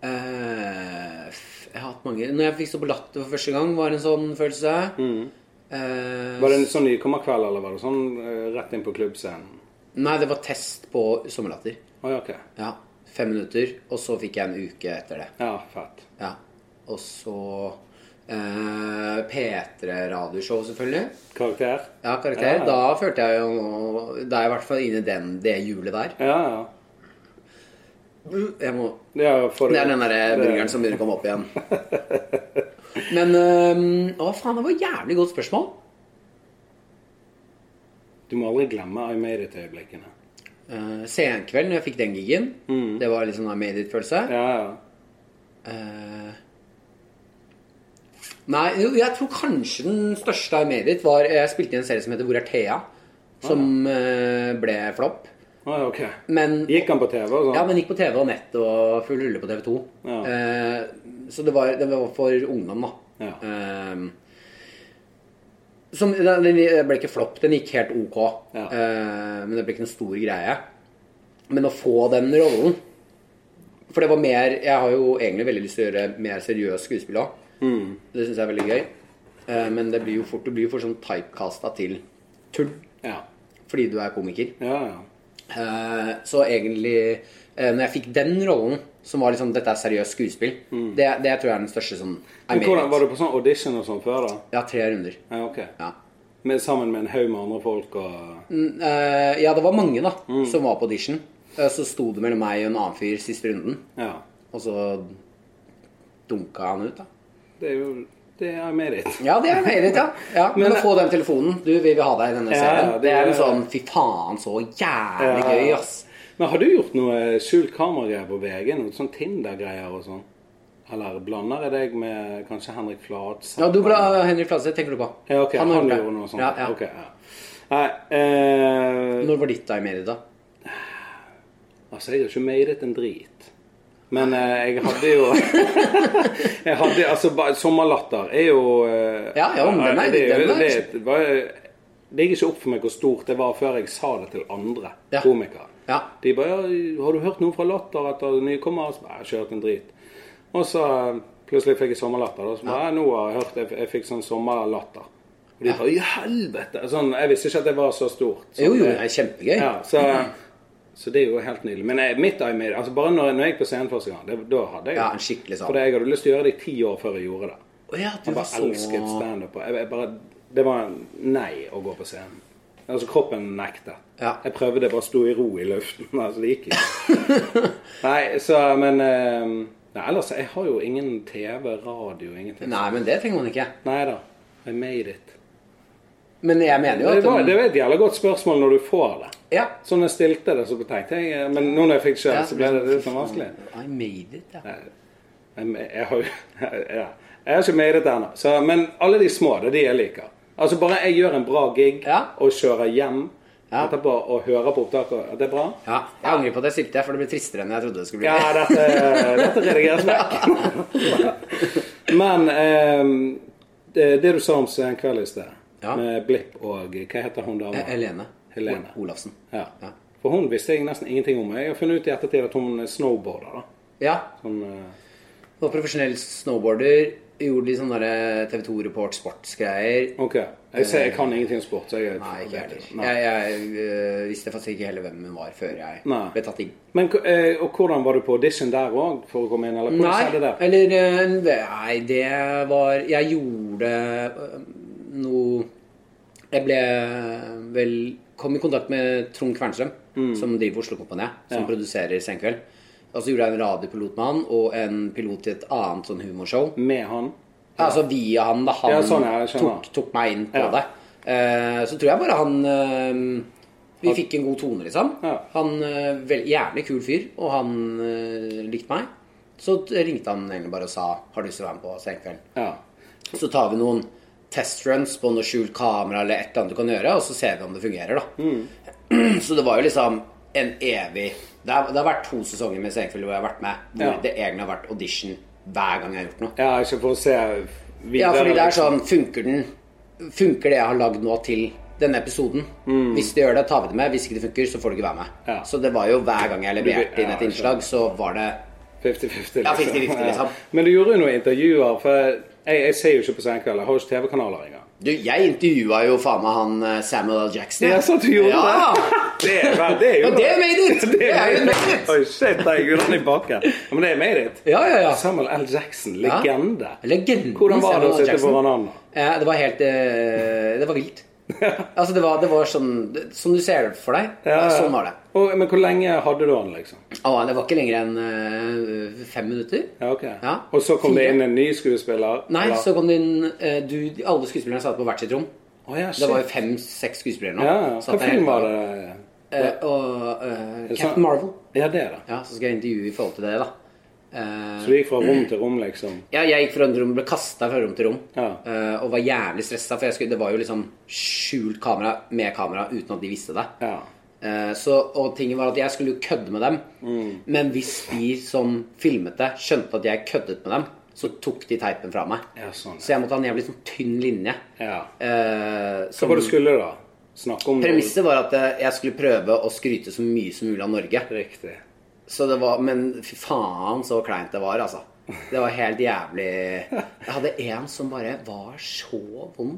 Speaker 2: eh, f- Jeg har hatt mange Når jeg fikk stå på Latter for første gang, var det en sånn følelse. Eh,
Speaker 1: Mm. Var det en sånn nykommerkveld, eller var det sånn eh, rett inn på klubbscenen?
Speaker 2: Nei, det var test på sommerlatter.
Speaker 1: Å ja, ok.
Speaker 2: Ja. fem minutter, og så fikk jeg en uke etter det.
Speaker 1: Ja, fett.
Speaker 2: Ja. Og så eh, P3-radioshow, selvfølgelig.
Speaker 1: Karakter?
Speaker 2: Ja, karakter.
Speaker 1: Ja.
Speaker 2: Da følte jeg jo nå Da er jeg i hvert fall inne i den, det hjulet der.
Speaker 1: Ja, ja.
Speaker 2: Jeg må
Speaker 1: Ja, for-
Speaker 2: Det er den der eh, burgeren som begynner å komme opp igjen. Men øhm, Å, faen, det var et jævlig godt spørsmål.
Speaker 1: Du må aldri glemme I made it-øyeblikkene.
Speaker 2: Uh, Senkveld, når jeg fikk den gigen, det var litt sånn I made it-følelse.
Speaker 1: Ja, ja.
Speaker 2: Eh, nei, jo, jeg tror kanskje den største I made it var Jeg spilte i en serie som heter Hvor er Thea? Som eh, ble flopp.
Speaker 1: Å, ja, ok.
Speaker 2: Men
Speaker 1: Gikk han på TV og sånn?
Speaker 2: Ja, men gikk på TV og nett og full rulle på TV 2.
Speaker 1: Ja.
Speaker 2: Eh, så det var, det var for ungdom, da.
Speaker 1: Ja.
Speaker 2: Eh, som, den, den ble ikke flopp, den gikk helt ok.
Speaker 1: Ja.
Speaker 2: Eh, men det ble ikke en stor greie. Men å få den rollen For det var mer Jeg har jo egentlig veldig lyst til å gjøre mer seriøst skuespill òg.
Speaker 1: Mm.
Speaker 2: Det syns jeg er veldig gøy. Eh, men det blir jo fort, du blir jo fort sånn typecasta til tull
Speaker 1: Ja,
Speaker 2: fordi du er komiker.
Speaker 1: ja. ja.
Speaker 2: Eh, Så egentlig eh, Når jeg fikk den rollen, som var liksom Dette er seriøst skuespill, det, det tror jeg er den største sånn I
Speaker 1: Mm. Men
Speaker 2: made
Speaker 1: hvordan,
Speaker 2: it.
Speaker 1: Var du på sånn audition og sånn før, da?
Speaker 2: Ja, tre runder.
Speaker 1: Ja, ok.
Speaker 2: Ja.
Speaker 1: Men sammen med en haug med andre folk og
Speaker 2: Mm, eh, ja, det var mange da
Speaker 1: Mm.
Speaker 2: som var på audition. Eh, Så sto det mellom meg og en annen fyr siste runden,
Speaker 1: Ja.
Speaker 2: og så dunka han ut, da.
Speaker 1: Det er jo Det er I made it.
Speaker 2: Ja, det er mer litt, ja. ja. Men,
Speaker 1: Men-
Speaker 2: å få den telefonen Du, vi vil ha deg i denne
Speaker 1: Ja,
Speaker 2: serien.
Speaker 1: ja, det
Speaker 2: det, er en
Speaker 1: er-
Speaker 2: sånn Fy faen, så jævlig
Speaker 1: Ja.
Speaker 2: gøy, ass.
Speaker 1: Men har du gjort noe eh, skjult kameragreier på VG? Noe sånn Tinder-greier og sånn? Eller blander jeg deg med kanskje Henrik Flats?
Speaker 2: Ja, du ble Henry Fladseth, tenker du på.
Speaker 1: Ja, ok. Han,
Speaker 2: har gjort det.
Speaker 1: gjorde noe sånt.
Speaker 2: Ja, ja.
Speaker 1: Ok, ja. Nei, eh,
Speaker 2: Når var ditt da i media, da?
Speaker 1: Altså, jeg har ikke made it en drit. Men eh, jeg hadde jo Jeg hadde altså bare- Sommerlatter er jo eh,
Speaker 2: Ja, ja, men den er-
Speaker 1: det, er jo-
Speaker 2: den er-
Speaker 1: det, er- det, var- det gikk ikke opp for meg hvor stort det var før jeg sa det til andre
Speaker 2: Ja.
Speaker 1: komikere.
Speaker 2: Ja.
Speaker 1: De bare ja, 'Har du hørt noe fra Latter etter nykommer?' Og så bare, jeg har ikke hørt en drit. Og så eh, plutselig fikk jeg sommerlatter. Og så bare, ja. 'Nå har jeg hørt Jeg, jeg fikk sånn sommerlatter'. Og de bare 'I helvete!' Sånn, jeg visste ikke at det var så stort. Sånn,
Speaker 2: Jo, jo,
Speaker 1: det-
Speaker 2: det er kjempegøy.
Speaker 1: ja, så, så det er jo helt nydelig. Men jeg, mitt eye made, altså bare når, når jeg gikk på scenen første gang, det, da hadde jeg
Speaker 2: Ja, en skikkelig sånn.
Speaker 1: For jeg hadde lyst til å gjøre det i ti år før jeg gjorde det.
Speaker 2: Å ja, du
Speaker 1: Jeg
Speaker 2: var
Speaker 1: bare
Speaker 2: så
Speaker 1: elsket standup. og Jeg, jeg bare, det var en nei å gå på scenen. Altså Kroppen nektet.
Speaker 2: Ja.
Speaker 1: Jeg prøvde, jeg bare sto i ro i luften. Altså, det gikk ikke. nei, så, men eh, nei, Ellers, jeg har jo ingen TV, radio, ingenting.
Speaker 2: Nei, men det trenger man ikke.
Speaker 1: Nei da. I made it.
Speaker 2: Men jeg mener jo
Speaker 1: Det
Speaker 2: at
Speaker 1: var,
Speaker 2: den-
Speaker 1: det var et jævla godt spørsmål når du får det.
Speaker 2: Ja.
Speaker 1: Så når jeg stilte det, så tenkte jeg eh, Men nå når jeg fikk sjøl,
Speaker 2: Ja,
Speaker 1: så ble det litt sånn vanskelig.
Speaker 2: I made it, ja.
Speaker 1: Jeg, jeg har jo ja. Jeg har ikke made it ennå. Så- Men alle de små, det er de jeg liker. Altså Bare jeg gjør en bra gig
Speaker 2: Ja.
Speaker 1: og kjører hjem
Speaker 2: Ja.
Speaker 1: etterpå og hører på opptaket, at det er bra
Speaker 2: ja. Jeg angrer på at jeg stilte, for det ble tristere enn jeg trodde det skulle bli.
Speaker 1: Ja, dette, dette redigeres vekk. Men ehm, det, det du sa om en kveld i sted,
Speaker 2: Ja.
Speaker 1: med Blipp og Hva heter hun dama?
Speaker 2: Eh, Helene.
Speaker 1: Helene.
Speaker 2: Ol- Olafsen.
Speaker 1: Ja.
Speaker 2: Ja.
Speaker 1: For hun visste jeg nesten ingenting om. Jeg har funnet ut i ettertid at hun snowboarder. da.
Speaker 2: Ja.
Speaker 1: Sånn, eh,
Speaker 2: Var profesjonell snowboarder. Gjorde litt sånne der eh, TV 2 Report sportsgreier.
Speaker 1: ok. Jeg, ser, jeg kan ingenting om sport. Så jeg,
Speaker 2: Nei, ikke heller.
Speaker 1: Nei.
Speaker 2: Jeg, jeg øh, visste faktisk ikke heller hvem hun var før jeg
Speaker 1: Nei.
Speaker 2: ble tatt inn.
Speaker 1: Men k- eh, og hvordan var du på audition der òg, for å komme inn? Eller hvordan skjedde det?
Speaker 2: eller eh, Nei, det var Jeg gjorde eh, noe Jeg ble eh, vel Kom i kontakt med Trond Kvernstrøm, som driver Oslo Kompaniet,
Speaker 1: Mm.
Speaker 2: som
Speaker 1: Ja.
Speaker 2: produserer Senkveld. Og så gjorde jeg en radiopilot med han, og en pilot til et annet sånn humorshow.
Speaker 1: Med han?
Speaker 2: Altså via han, da. Han
Speaker 1: Ja, sånn, ja, jeg skjønner.
Speaker 2: tok, tok meg inn på
Speaker 1: Ja.
Speaker 2: det. Eh, så tror jeg bare han eh, Vi fikk en god tone, liksom.
Speaker 1: Ja.
Speaker 2: Han eh, vel, Jævlig kul fyr, og han eh, likte meg. Så t- ringte han egentlig bare og sa Har du lyst til å være med på Senkveld.
Speaker 1: Ja.
Speaker 2: Så tar vi noen testruns på noe skjult kamera eller et eller annet du kan gjøre, og så ser vi om det fungerer, da.
Speaker 1: Mm.
Speaker 2: Så det var jo liksom en evig Det har, det har vært to sesonger med Senkveld hvor jeg har vært med, hvor
Speaker 1: Ja.
Speaker 2: det egentlig har vært audition hver gang jeg har gjort noe.
Speaker 1: ja, ikke for å se videre.
Speaker 2: Ja, fordi det er
Speaker 1: liksom.
Speaker 2: sånn Funker den Funker det jeg har lagd nå til denne episoden? Hvis det gjør det, tar vi det med. Hvis ikke det funker, så får du ikke være med.
Speaker 1: Mm. Ja.
Speaker 2: Så det var jo hver gang jeg leverte inn
Speaker 1: Ja,
Speaker 2: et innslag, så var det
Speaker 1: 50-50.
Speaker 2: Ja, 50-50, liksom.
Speaker 1: Men du gjorde jo noen intervjuer, for jeg, jeg ser jo ikke på Senkveld. Jeg har jo ikke TV-kanaler engang.
Speaker 2: Du, jeg intervjua jo faen meg han eh, Samuel L. Jackson.
Speaker 1: Ja, så du gjorde
Speaker 2: ja.
Speaker 1: Det er, vel- det er jo
Speaker 2: Ja, det er made it! Det er jo made it!
Speaker 1: Oi, shit, jeg gjorde den i bakken. Ja, Men det er made it.
Speaker 2: Ja, ja, ja.
Speaker 1: Samuel L. Jackson, legende.
Speaker 2: Legenden
Speaker 1: Hvordan var det å
Speaker 2: Samuel L.
Speaker 1: sitte
Speaker 2: Jackson.
Speaker 1: foran han? da?
Speaker 2: Eh, Det var helt eh, Det var vilt. Altså, det var, det var sånn Som du ser det for deg.
Speaker 1: Ja, ja.
Speaker 2: Sånn var det.
Speaker 1: Og, men hvor lenge hadde du han, liksom?
Speaker 2: Å, det var ikke lenger enn eh, fem minutter.
Speaker 1: Ja, ok.
Speaker 2: Ja.
Speaker 1: Og så kom det
Speaker 2: Fire.
Speaker 1: inn en ny skuespiller?
Speaker 2: Nei,
Speaker 1: eller?
Speaker 2: så kom det inn eh, du, Alle skuespillerne satt på hvert sitt rom.
Speaker 1: Å, ja, shit.
Speaker 2: Det var jo fem-seks skuespillere nå.
Speaker 1: ja,
Speaker 2: Satt
Speaker 1: Hva
Speaker 2: der hele
Speaker 1: film var
Speaker 2: dagen.
Speaker 1: det?
Speaker 2: Eh, og eh,
Speaker 1: det
Speaker 2: Captain
Speaker 1: sant?
Speaker 2: Marvel.
Speaker 1: Ja, det, da.
Speaker 2: Ja, Så skal jeg intervjue i forhold til det, da. Eh,
Speaker 1: Så du gikk fra rom til rom, liksom?
Speaker 2: ja, jeg gikk fra rom, ble kasta fra rom til rom
Speaker 1: Ja.
Speaker 2: eh, og var jævlig stressa, for jeg skulle, det var jo liksom skjult kamera med kamera uten at de visste det.
Speaker 1: Ja.
Speaker 2: Eh, Så, og tingen var at jeg skulle jo kødde med dem.
Speaker 1: Mm.
Speaker 2: Men hvis de som filmet det, skjønte at jeg køddet med dem, så tok de teipen fra meg.
Speaker 1: ja sånn.
Speaker 2: Så jeg måtte ha en jævlig sånn tynn linje.
Speaker 1: Ja.
Speaker 2: Eh,
Speaker 1: Hva
Speaker 2: som-
Speaker 1: var det du skulle, da? Snakke om noe?
Speaker 2: Premisset var at eh, jeg skulle prøve å skryte så mye som mulig av Norge.
Speaker 1: Riktig.
Speaker 2: Så det var, men fy faen så kleint det var, altså. Det var helt jævlig Jeg hadde en som bare var så vond.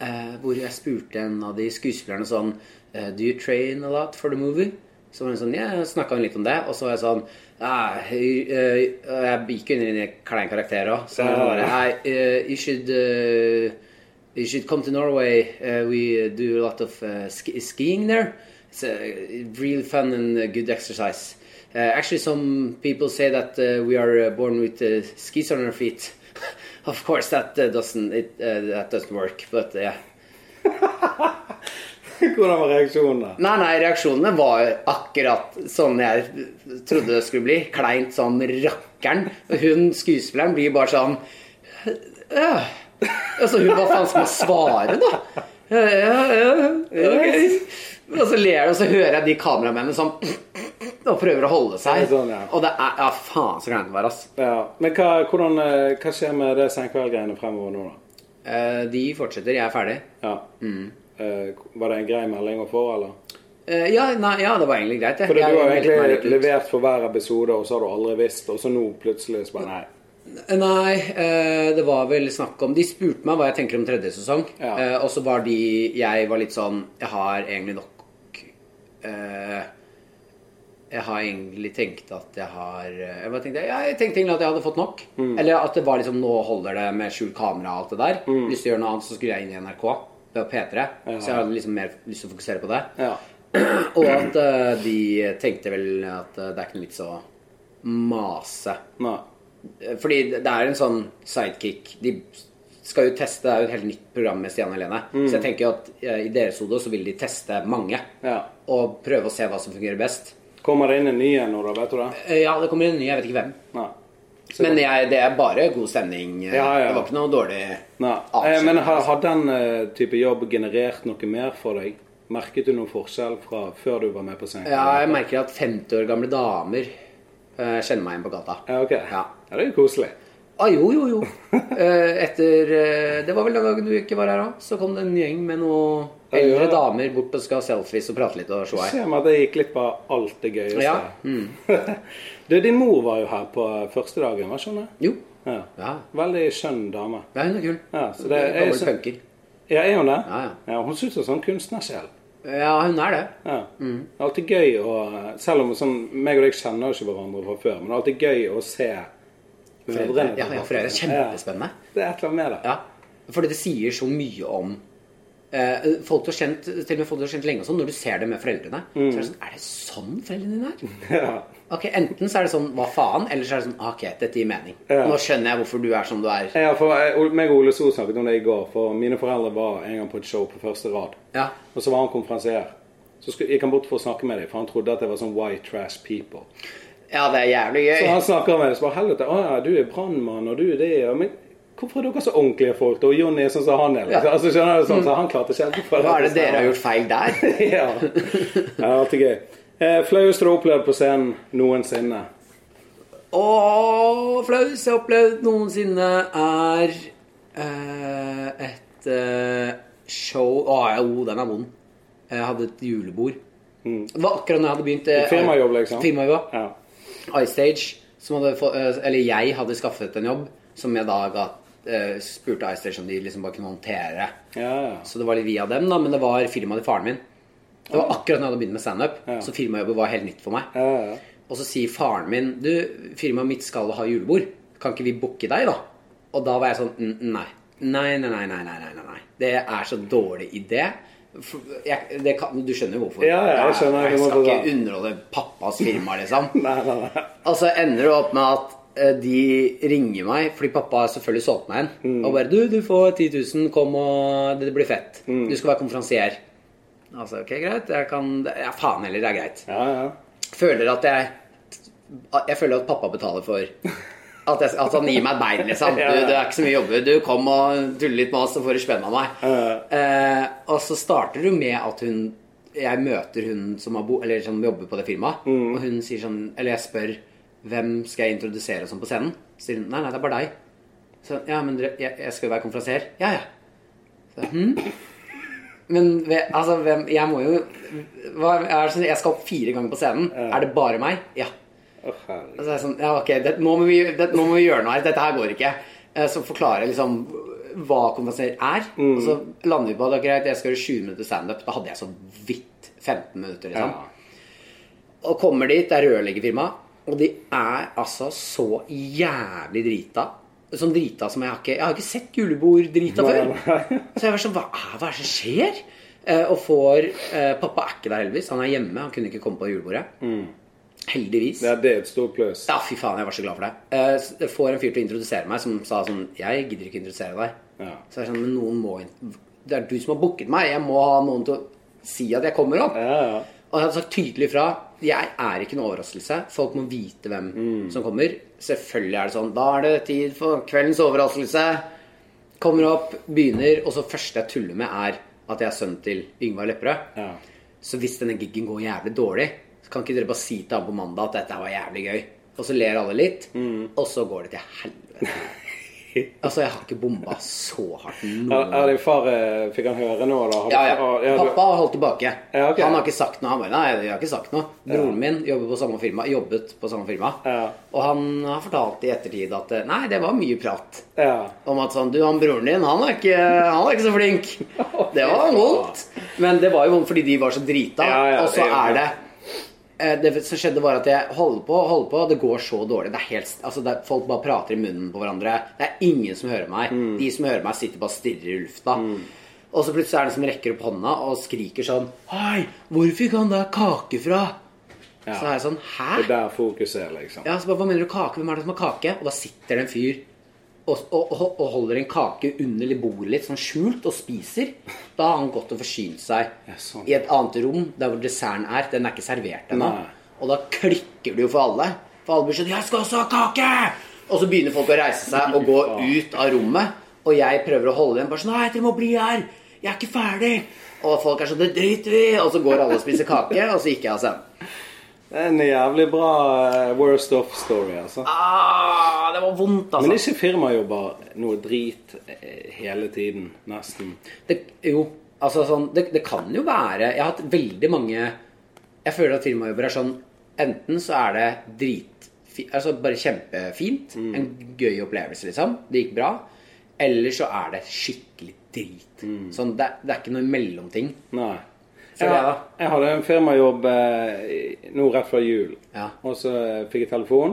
Speaker 2: Eh, hvor jeg spurte en av de skuespillerne sånn eh, Do you train a lot for the movie? Så var hun sånn, ja, snakka hun litt om det. Og så var jeg sånn ah, jeg, jeg gikk under en klein karakter òg. Så var hun bare «Nei, eh, You should eh, You should come to Norway. Uh, we uh, do a lot of uh, ski skiing there. It's uh, real fun and uh, good exercise. Uh, actually, some people say that uh, we are uh, born with uh, skis on our feet. of course, that uh, doesn't it uh, that doesn't work. But yeah.
Speaker 1: Hvordan var reaksjonen? da?
Speaker 2: Nei, nei, reaksjonene var akkurat sånn jeg trodde det skulle bli. Kleint sånn rakkeren. Og hun skuespilleren blir bare sånn «Øh». Altså, hun hva faen skal man svare, da? «Ja, ja, ja, ok». Og så ler de, og så hører jeg de kameramennene sånn og prøver å holde seg.
Speaker 1: Det er sånn, ja.
Speaker 2: Og det er Ja, faen så kleint det var, ass.
Speaker 1: Ja. Men hva, hvordan, eh, hva skjer med det senkveldgreiene fremover nå, da?
Speaker 2: Eh, De fortsetter. Jeg er ferdig.
Speaker 1: Ja.
Speaker 2: Mm.
Speaker 1: Eh, var det en grei melding å få, eller?
Speaker 2: Eh, Ja, nei, ja, det var egentlig greit. jeg.
Speaker 1: For du
Speaker 2: Jeg
Speaker 1: har
Speaker 2: meldte meg litt
Speaker 1: egentlig
Speaker 2: ut.
Speaker 1: levert for hver episode, og så har du aldri visst, og så nå plutselig så bare nei.
Speaker 2: Nei, eh, det var vel snakk om De spurte meg hva jeg tenker om tredje sesong.
Speaker 1: Ja.
Speaker 2: Eh, og så var de Jeg var litt sånn Jeg har egentlig nok eh, Jeg har egentlig tenkt at jeg har eh, Jeg, bare tenkte, ja, jeg tenkte egentlig at jeg hadde fått nok. Eller at det var liksom Nå holder det med skjult kamera og alt det der. Lyst til å gjøre noe annet, så skulle jeg inn i NRK. Det var P3. Så jeg hadde liksom mer lyst til å fokusere på det.
Speaker 1: Ja.
Speaker 2: Og at eh, de tenkte vel at eh, det er ikke noe vits å mase
Speaker 1: Nei.
Speaker 2: Eh, fordi det det er en sånn sidekick De skal jo teste, det er jo et helt nytt program med Stian Helene.
Speaker 1: Mm.
Speaker 2: Så jeg tenker jo at eh, i deres hode så vil de teste mange.
Speaker 1: Ja.
Speaker 2: Og prøve å se hva som fungerer best.
Speaker 1: Kommer det inn en ny en nå, da? Vet du det?
Speaker 2: Eh, Ja, det kommer en ny, jeg vet ikke hvem.
Speaker 1: Nei.
Speaker 2: Men jeg, det er bare god stemning. eh,
Speaker 1: Ja, ja, ja.
Speaker 2: Det var ikke noe dårlig
Speaker 1: Nei. Eh,
Speaker 2: avskjed.
Speaker 1: men har, har den eh, type jobb generert noe mer for deg? Merket du noen forskjell fra før du var med på
Speaker 2: Ja, jeg
Speaker 1: senkveldgreiene?
Speaker 2: merker at 50 år gamle damer eh, kjenner meg igjen på gata.
Speaker 1: Ja, ok.
Speaker 2: Ja.
Speaker 1: ja, det er jo koselig.
Speaker 2: Ah, jo, jo, jo. Eh, Etter eh, Det var vel den dagen du ikke var her òg. Så kom det en gjeng med noen
Speaker 1: Ja, ja.
Speaker 2: eldre damer bort og skal ha selfies og prate litt og se her.
Speaker 1: Ser meg at jeg gikk glipp av alt det gøyeste.
Speaker 2: Ja,
Speaker 1: du, din mor var jo her på eh, første dagen, var ikke hun det?
Speaker 2: Jo.
Speaker 1: Ja.
Speaker 2: Ja.
Speaker 1: Veldig skjønn dame.
Speaker 2: ja, hun er kul.
Speaker 1: Ja, så det
Speaker 2: Gammel
Speaker 1: er jo så-
Speaker 2: punker.
Speaker 1: Ja, er hun det?
Speaker 2: Ja, ja.
Speaker 1: hun synes det er sånn kunstnersjel.
Speaker 2: Ja, hun er det.
Speaker 1: Ja.
Speaker 2: Mm.
Speaker 1: Det er alltid gøy å Selv om sånn, meg og deg kjenner jo ikke hverandre fra før, men det er alltid gøy å se mødrene.
Speaker 2: Ja, ja, for det er kjempespennende.
Speaker 1: Ja, det er et eller annet med det.
Speaker 2: Ja. Fordi det sier så mye om eh, folk du har kjent til og med folk du har kjent lenge og sånn, når du ser det med foreldrene. Så
Speaker 1: Mm.
Speaker 2: Er det sånn, er det sånn foreldrene dine er?
Speaker 1: Ja.
Speaker 2: Ok, Enten så er det sånn hva faen, eller så er det sånn ok, dette gir mening.
Speaker 1: Ja.
Speaker 2: Nå skjønner jeg hvorfor du er som du er.
Speaker 1: Ja, for jeg, meg og Ole So snakket om det i går, for mine foreldre var en gang på et show på første rad.
Speaker 2: Ja.
Speaker 1: Og så var han konferansier. Så skulle, gikk han bort for å snakke med dem, for han trodde at det var sånn white trash people.
Speaker 2: Ja, det er jævlig gøy.
Speaker 1: Så han snakker med dem, så bare helvete, å ja, du er brannmann, og du er det, ja, men hvorfor er dere så ordentlige folk, da? og Jonny er sånn som han er? liksom.
Speaker 2: Ja. Mm.
Speaker 1: Altså, skjønner du, sånn, så han klarte ikke helt å få
Speaker 2: Hva er det dere har gjort feil der?
Speaker 1: ja. ja, det er alltid gøy. Eh, Flaueste du har opplevd på scenen noensinne?
Speaker 2: Åh, flaus jeg har opplevd noensinne er eh, et eh, show Å, jo, den er vond. Jeg hadde et julebord. Det var akkurat når jeg hadde begynt eh,
Speaker 1: Mm. Firmajobb, liksom?
Speaker 2: Firmajobb.
Speaker 1: Ja.
Speaker 2: iStage, som hadde få, eh, eller jeg hadde skaffet en jobb, som jeg da ga, eh, spurte iStage om de liksom bare kunne håndtere.
Speaker 1: Ja, ja.
Speaker 2: Så det var litt via dem, da, men det var firmaet til faren min. Det var akkurat når jeg hadde begynt med standup,
Speaker 1: Ja.
Speaker 2: så firmajobben var helt nytt for meg.
Speaker 1: Ja, ja.
Speaker 2: Og så sier faren min Du, firmaet mitt skal ha julebord. Kan ikke vi booke deg, da? Og da var jeg sånn "Mm, Nei. Nei, nei, nei, nei. nei, nei, nei, nei. Det er så dårlig idé. For- Jeg, det kan, du skjønner jo hvorfor.
Speaker 1: Ja, ja, jeg skjønner
Speaker 2: jeg,
Speaker 1: hvorfor
Speaker 2: skal
Speaker 1: det er.
Speaker 2: ikke underholde pappas firma, liksom.
Speaker 1: Nei, nei, nei.
Speaker 2: Og så ender det opp med at eh, de ringer meg, fordi pappa har selvfølgelig solgt meg en.
Speaker 1: Mm.
Speaker 2: Og bare 'Du, du får 10 000. Kom, og det blir fett.
Speaker 1: Mm.
Speaker 2: Du skal være konferansier.' Altså, ok, greit. Jeg kan Ja, faen heller, det er greit
Speaker 1: Ja, ja.
Speaker 2: føler at jeg Jeg føler at pappa betaler for at, jeg, at han gir meg et bein, liksom. Du, det er ikke så mye jobber. Du, kom og tulle litt med oss, så får du spenn av meg. Eh, og så starter du med at hun Jeg møter hun som, har bo, eller, som jobber på det firmaet, og hun sier sånn Eller jeg spør hvem skal jeg introdusere og sånn på scenen? Så sier hun nei, nei, det er bare deg. Så, ja, men dere, jeg, jeg skal jo være konferansier. Ja, ja. Men ve- altså, hvem Jeg må jo hva, er det, sånn- Jeg skal opp fire ganger på scenen. Er det bare meg? Ja.
Speaker 1: Å, herregud.
Speaker 2: Og så er jeg sånn, ja ok, det, nå, må vi, det, nå må vi gjøre noe her, dette her går ikke. Eh, Så forklarer jeg liksom hva konferansier er, og så lander vi på at det er greit, jeg skal gjøre 20 minutter standup. Da hadde jeg så vidt 15 minutter, liksom. Og kommer dit, det er rørleggerfirma, og de er altså så jævlig drita. Sånn drita som jeg har ikke Jeg har ikke sett julebord-drita før. Så jeg var sånn, hva er, hva er det som skjer? Eh, og får eh, Pappa er ikke der, heldigvis. Han er hjemme. Han kunne ikke komme på julebordet. Heldigvis.
Speaker 1: Ja, det er et stort pluss.
Speaker 2: Ja, fy faen, jeg var så glad for det. Eh, s- Jeg får en fyr til å introdusere meg som sa sånn Jeg gidder ikke introdusere deg.
Speaker 1: Ja.
Speaker 2: Så jeg er sånn, men noen må in- Det er du som har booket meg. Jeg må ha noen til å si at jeg kommer opp.
Speaker 1: Ja, ja.
Speaker 2: Og jeg hadde sagt tydelig fra. Jeg er ikke noen overraskelse. Folk må vite hvem
Speaker 1: Mm.
Speaker 2: som kommer. Selvfølgelig er det sånn. Da er det tid for kveldens overraskelse. Kommer opp, begynner, og så første jeg tuller med, er at jeg er sønnen til Yngvar Lepperød.
Speaker 1: Ja.
Speaker 2: Så hvis denne gigen går jævlig dårlig, så kan ikke dere bare si til ham på mandag at dette var jævlig gøy. Og så ler alle litt,
Speaker 1: Mm.
Speaker 2: og så går det til helvete. altså, jeg har ikke bomba så hardt noen
Speaker 1: Er, er din far eh, Fikk han høre nå, da? Har du-
Speaker 2: ja, ja.
Speaker 1: Å, ja, du-
Speaker 2: Pappa har holdt tilbake.
Speaker 1: Ja, ok.
Speaker 2: Han har ikke sagt noe. Han bare, nei, jeg har ikke sagt noe. Broren min jobber på samme firma, jobbet på samme firma.
Speaker 1: Ja.
Speaker 2: Og han har fortalt i ettertid at eh, nei, det var mye prat.
Speaker 1: Ja.
Speaker 2: Om at sånn, du, han broren din, han er ikke, han er ikke så flink. Det var vondt. Men det var jo vondt fordi de var så drita.
Speaker 1: Ja, ja,
Speaker 2: og så
Speaker 1: det er jo
Speaker 2: er det eh, det som skjedde, var at jeg holder på og holder på, og det går så dårlig. Det er helt, altså det er, folk bare prater i munnen på hverandre. Det er ingen som hører meg.
Speaker 1: Mm.
Speaker 2: De som hører meg, sitter bare og stirrer i lufta. Og så plutselig er det en som rekker opp hånda og skriker sånn Hei, hvor fikk han der kake fra? Så er jeg sånn Hæ?
Speaker 1: Det er der fokuset er, liksom.
Speaker 2: Ja, så bare, Hva mener du kake? Hvem er det som har kake? Og da sitter det en fyr og, og, og, og holder en kake under litt bordet litt, sånn skjult, og spiser. Da har han gått og forsynt seg
Speaker 1: Ja, sånn.
Speaker 2: i et annet rom, der hvor desserten er. Den er ikke servert ennå.
Speaker 1: Nei.
Speaker 2: Og da klikker det jo for alle. For alle blir sånn 'Jeg skal også ha kake!' Og så begynner folk å reise seg og gå ut av rommet. Og jeg prøver å holde dem bare sånn 'Nei, dere må bli her! Jeg er ikke ferdig!' Og folk er sånn 'Det driter vi!' Og så går alle og spiser kake, og så gikk jeg av scenen.
Speaker 1: Det er en jævlig bra eh, worst of story, altså.
Speaker 2: Ah, det var vondt, altså.
Speaker 1: Men er ikke firmajobber noe drit eh, hele tiden? Nesten.
Speaker 2: Det, jo, altså sånn det, det kan jo være Jeg har hatt veldig mange Jeg føler at firmajobber er sånn Enten så er det drit Altså bare kjempefint
Speaker 1: Mm.
Speaker 2: En gøy opplevelse liksom Det gikk bra Eller så er det skikkelig drit
Speaker 1: Mm.
Speaker 2: Sånn, det, det er ikke noe mellomting
Speaker 1: Nei.
Speaker 2: Så
Speaker 1: Jeg,
Speaker 2: det da?
Speaker 1: jeg hadde en firmajobb eh, i- nå rett før jul,
Speaker 2: Ja.
Speaker 1: og så eh, fikk jeg telefon.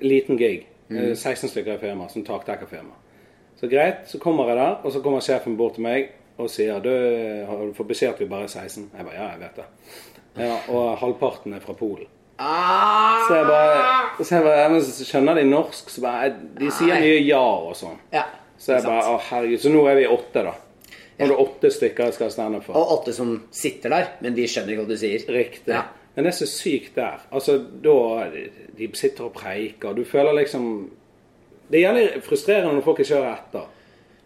Speaker 1: Liten gig. Eh,
Speaker 2: Mhm.
Speaker 1: 16 stykker i firmaet, som taktekkerfirma. Så greit, så kommer jeg der, og så kommer sjefen bort til meg og sier du har du fått beskjed at vi bare er 16. Jeg bare ja, jeg vet det. Ja, og halvparten er fra Polen.
Speaker 2: ah!
Speaker 1: Så jeg bare, så jeg bare ja, men Skjønner de norsk? Så bare, de sier
Speaker 2: Nei.
Speaker 1: mye ja og sånn.
Speaker 2: Ja,
Speaker 1: Så jeg
Speaker 2: ikke sant.
Speaker 1: bare, å herregud, så nå er vi åtte, da. Nå er det åtte stykker jeg skal stande for.
Speaker 2: Og åtte som sitter der Men de skjønner ikke hva du sier
Speaker 1: Riktig.
Speaker 2: Ja.
Speaker 1: Men det er så sykt der. Altså, da De sitter og preiker, og du føler liksom Det er jævlig frustrerende når folk ikke hører etter.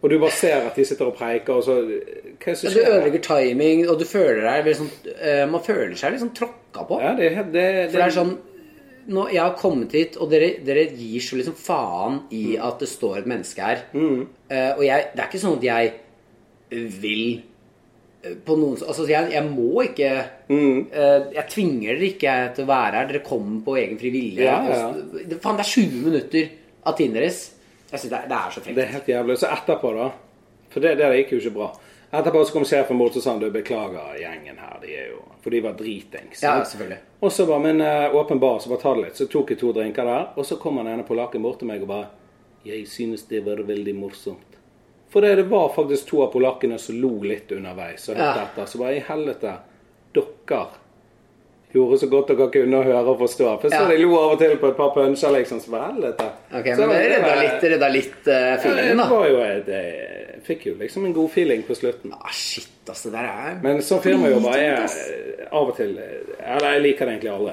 Speaker 1: Og du bare ser at de sitter og preiker, og så Hva er det som
Speaker 2: Du
Speaker 1: skjer?
Speaker 2: ødelegger timing Og du føler deg veldig sånn eh, Man føler seg litt sånn tråkka på
Speaker 1: Ja, det er helt det, det,
Speaker 2: For det er sånn nå, Jeg har kommet hit, og dere, dere gir så liksom faen i
Speaker 1: Mm.
Speaker 2: at det står et menneske her. Eh, og jeg, det er ikke sånn at jeg vil eh, på noen s- Altså, jeg, jeg må ikke
Speaker 1: Mm.
Speaker 2: eh, Jeg tvinger dere ikke til å være her. Dere kommer på egen fri vilje.
Speaker 1: Ja, ja, ja.
Speaker 2: Og s- det- Faen, det er 20 minutter av tiden deres. Jeg synes det, er- det er så frekt.
Speaker 1: det er helt jævlig. Så etterpå, da For det der gikk jo ikke bra. Etterpå så kom sjefen bort og sa han, du beklager gjengen her, de er jo For de var dritings.
Speaker 2: Ja,
Speaker 1: sant?
Speaker 2: selvfølgelig.
Speaker 1: Og så var min eh, åpen bar, så var ta det litt. Så tok jeg to drinker der, og så kom han ene polakken bort til meg og bare Jeg synes det var veldig morsomt. For det, det var faktisk to av polakkene som lo litt underveis og hørte
Speaker 2: Ja.
Speaker 1: etter. Så bare i helvete, dere gjorde så godt dere kunne høre og forstå. For så
Speaker 2: Ja.
Speaker 1: de lo av og til på et par punsjer, liksom. Så bare helvete.
Speaker 2: Ok,
Speaker 1: Så
Speaker 2: men det
Speaker 1: var-
Speaker 2: redda litt, redda litt eh,
Speaker 1: Det
Speaker 2: feelingen, da.
Speaker 1: var jo et, eh, Jeg fikk jo liksom en god feeling på slutten.
Speaker 2: Ah, shit, altså. Det der er
Speaker 1: Men som firmajobber er
Speaker 2: Dritungt, ass.
Speaker 1: jeg av og til eh, Eller jeg liker det egentlig aldri.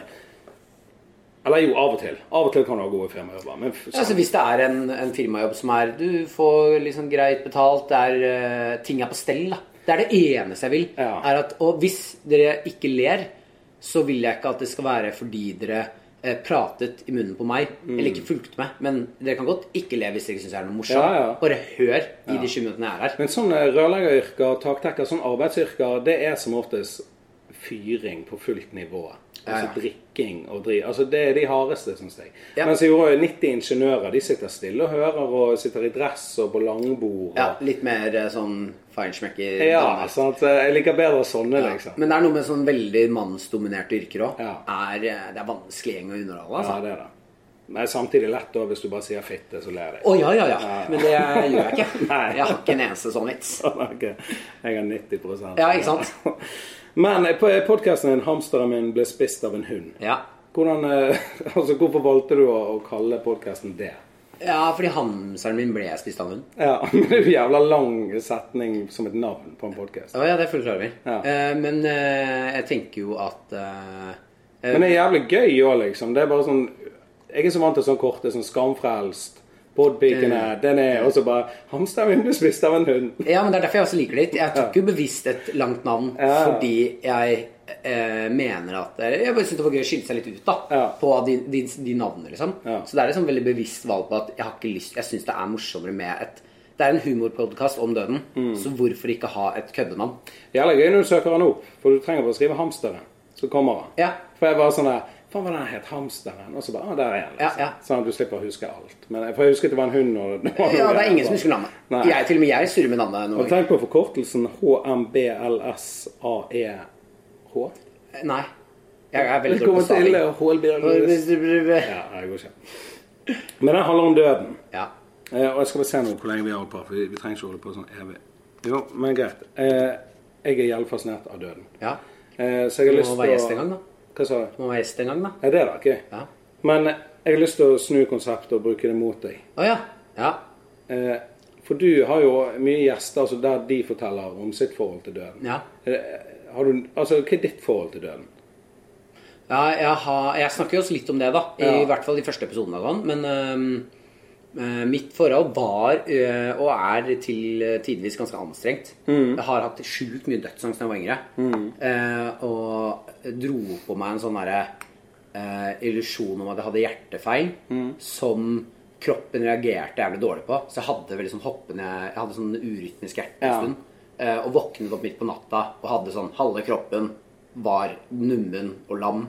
Speaker 1: Eller jo, av og til. Av og til kan du ha gode firmajobber. Men f-
Speaker 2: Ja, Altså Hvis det er en, en firmajobb som er Du får liksom greit betalt, det er, eh, ting er på stell. da Det er det eneste jeg vil.
Speaker 1: Ja.
Speaker 2: Er at, og hvis dere ikke ler, så vil jeg ikke at det skal være fordi dere eh, pratet i munnen på meg.
Speaker 1: Mm.
Speaker 2: Eller ikke fulgte meg. Men dere kan godt ikke le hvis dere ikke syns jeg er noe morsom.
Speaker 1: Ja, ja.
Speaker 2: Bare hør i de 20 minuttene jeg er her.
Speaker 1: men sånne rørleggeryrker, taktekker, sånne arbeidsyrker, det er som oftest fyring på fullt nivå.
Speaker 2: Ja,
Speaker 1: Altså
Speaker 2: ja.
Speaker 1: drikking og driv. Altså det er de hardeste, syns jeg.
Speaker 2: Ja.
Speaker 1: Mens i år er 90 ingeniører. De sitter stille og hører, og sitter i dress og på langbord. Og...
Speaker 2: Ja, litt mer eh, sånn feinschmecker.
Speaker 1: Ja, sant? Jeg liker bedre sånne,
Speaker 2: Ja.
Speaker 1: liksom.
Speaker 2: Men det er noe med sånn veldig mannsdominerte yrker òg.
Speaker 1: Ja.
Speaker 2: Det er vanskelig gjeng å underholde. Altså.
Speaker 1: Ja, det er det. Men samtidig lett da, hvis du bare sier fitte, så ler jeg.
Speaker 2: Å ja, ja, ja. Men det gjør jeg ikke.
Speaker 1: Nei.
Speaker 2: Jeg har ikke en eneste sånn vits.
Speaker 1: Ok, Jeg har 90
Speaker 2: Ja, ikke sant?
Speaker 1: Men eh, på podkasten din 'Hamsteren min ble spist av en hund'.
Speaker 2: Ja.
Speaker 1: Hvordan, eh, altså, hvorfor valgte du å, å kalle podkasten det?
Speaker 2: ja, fordi hamseren min ble spist av en hund.
Speaker 1: Ja, men Det er jo en jævla lang setning som et navn på en podkast.
Speaker 2: Å ja, det er jeg fullt klar over.
Speaker 1: Ja.
Speaker 2: Eh, men eh, jeg tenker jo at eh, eh,
Speaker 1: Men det er jævlig gøy òg, liksom. Det er bare sånn Jeg er så vant til sånn korte sånn 'Skamfrelst', 'Podpikene', den er Og så bare 'Hamsteren min ble spist av en hund'.
Speaker 2: eh, Ja, men det er derfor jeg også liker det litt. Jeg tok jo bevisst et langt navn
Speaker 1: Ja.
Speaker 2: fordi jeg eh, mener at eller Jeg bare syntes det var gøy å skille seg litt ut da
Speaker 1: Ja.
Speaker 2: på de, de, de navnene, liksom.
Speaker 1: Ja.
Speaker 2: Så det er liksom veldig bevisst valg på at jeg har ikke lyst Jeg syns det er morsommere med et Det er en humorpodkast om døden,
Speaker 1: Mm.
Speaker 2: så hvorfor ikke ha et køddenavn?
Speaker 1: Jævla gøy når du søker han opp, for du trenger bare å skrive 'Hamsteren', så kommer han.
Speaker 2: Ja.
Speaker 1: For jeg var sånn der Faen, hva den het Hamsteren? Og så bare, ah, der er han. liksom.
Speaker 2: Ja, ja.
Speaker 1: Sånn at du slipper å huske alt. Men jeg- for jeg husket det var en hund og
Speaker 2: Ja, det er ingen som husker
Speaker 1: Nei.
Speaker 2: navnet. Jeg, til og med jeg surrer med navnet
Speaker 1: Og
Speaker 2: noen
Speaker 1: tenk
Speaker 2: ganger.
Speaker 1: på forkortelsen E HMBLSAEH.
Speaker 2: Nei. Jeg er veldig dårlig
Speaker 1: Velkommen
Speaker 2: på
Speaker 1: til eh,
Speaker 2: staving.
Speaker 1: HLBLS. Ja, det går ikke. Men den handler om døden.
Speaker 2: Ja.
Speaker 1: Eh, og jeg skal bare se nå hvor lenge vi har holdt på, for vi, vi trenger ikke holde på sånn evig. Jo, men greit. Eh, jeg er jævlig fascinert av døden.
Speaker 2: ja.
Speaker 1: Eh, så jeg har
Speaker 2: Du
Speaker 1: lyst
Speaker 2: må
Speaker 1: til å
Speaker 2: være gjest en gang, da.
Speaker 1: Hva sa du?
Speaker 2: Du må være gjest en gang, da.
Speaker 1: Nei, det er da ikke.
Speaker 2: Ja.
Speaker 1: Men eh, jeg har lyst til å snu konseptet og bruke det mot deg.
Speaker 2: Å ja. Ja.
Speaker 1: Eh, for du har jo mye gjester altså, der de forteller om sitt forhold til døden.
Speaker 2: ja.
Speaker 1: Eh, Har du, altså, hva er ditt forhold til døden?
Speaker 2: Ja, jeg, har, jeg snakker jo også litt om det, da. I,
Speaker 1: Ja.
Speaker 2: hvert fall de første episodene. av den, Men øhm, øh, mitt forhold var, øh, og er til øh, tidvis, ganske anstrengt.
Speaker 1: Mm.
Speaker 2: Jeg har hatt sjukt mye dødsangst da jeg var yngre. Eh, og dro på meg en sånn derre eh, illusjon om at jeg hadde hjertefeil
Speaker 1: Mm.
Speaker 2: som kroppen reagerte jævlig dårlig på. Så jeg hadde veldig sånn hoppende Jeg hadde sånn urytmisk hjerte en
Speaker 1: Ja.
Speaker 2: stund. Eh, og våknet opp midt på natta og hadde sånn Halve kroppen var nummen og lam.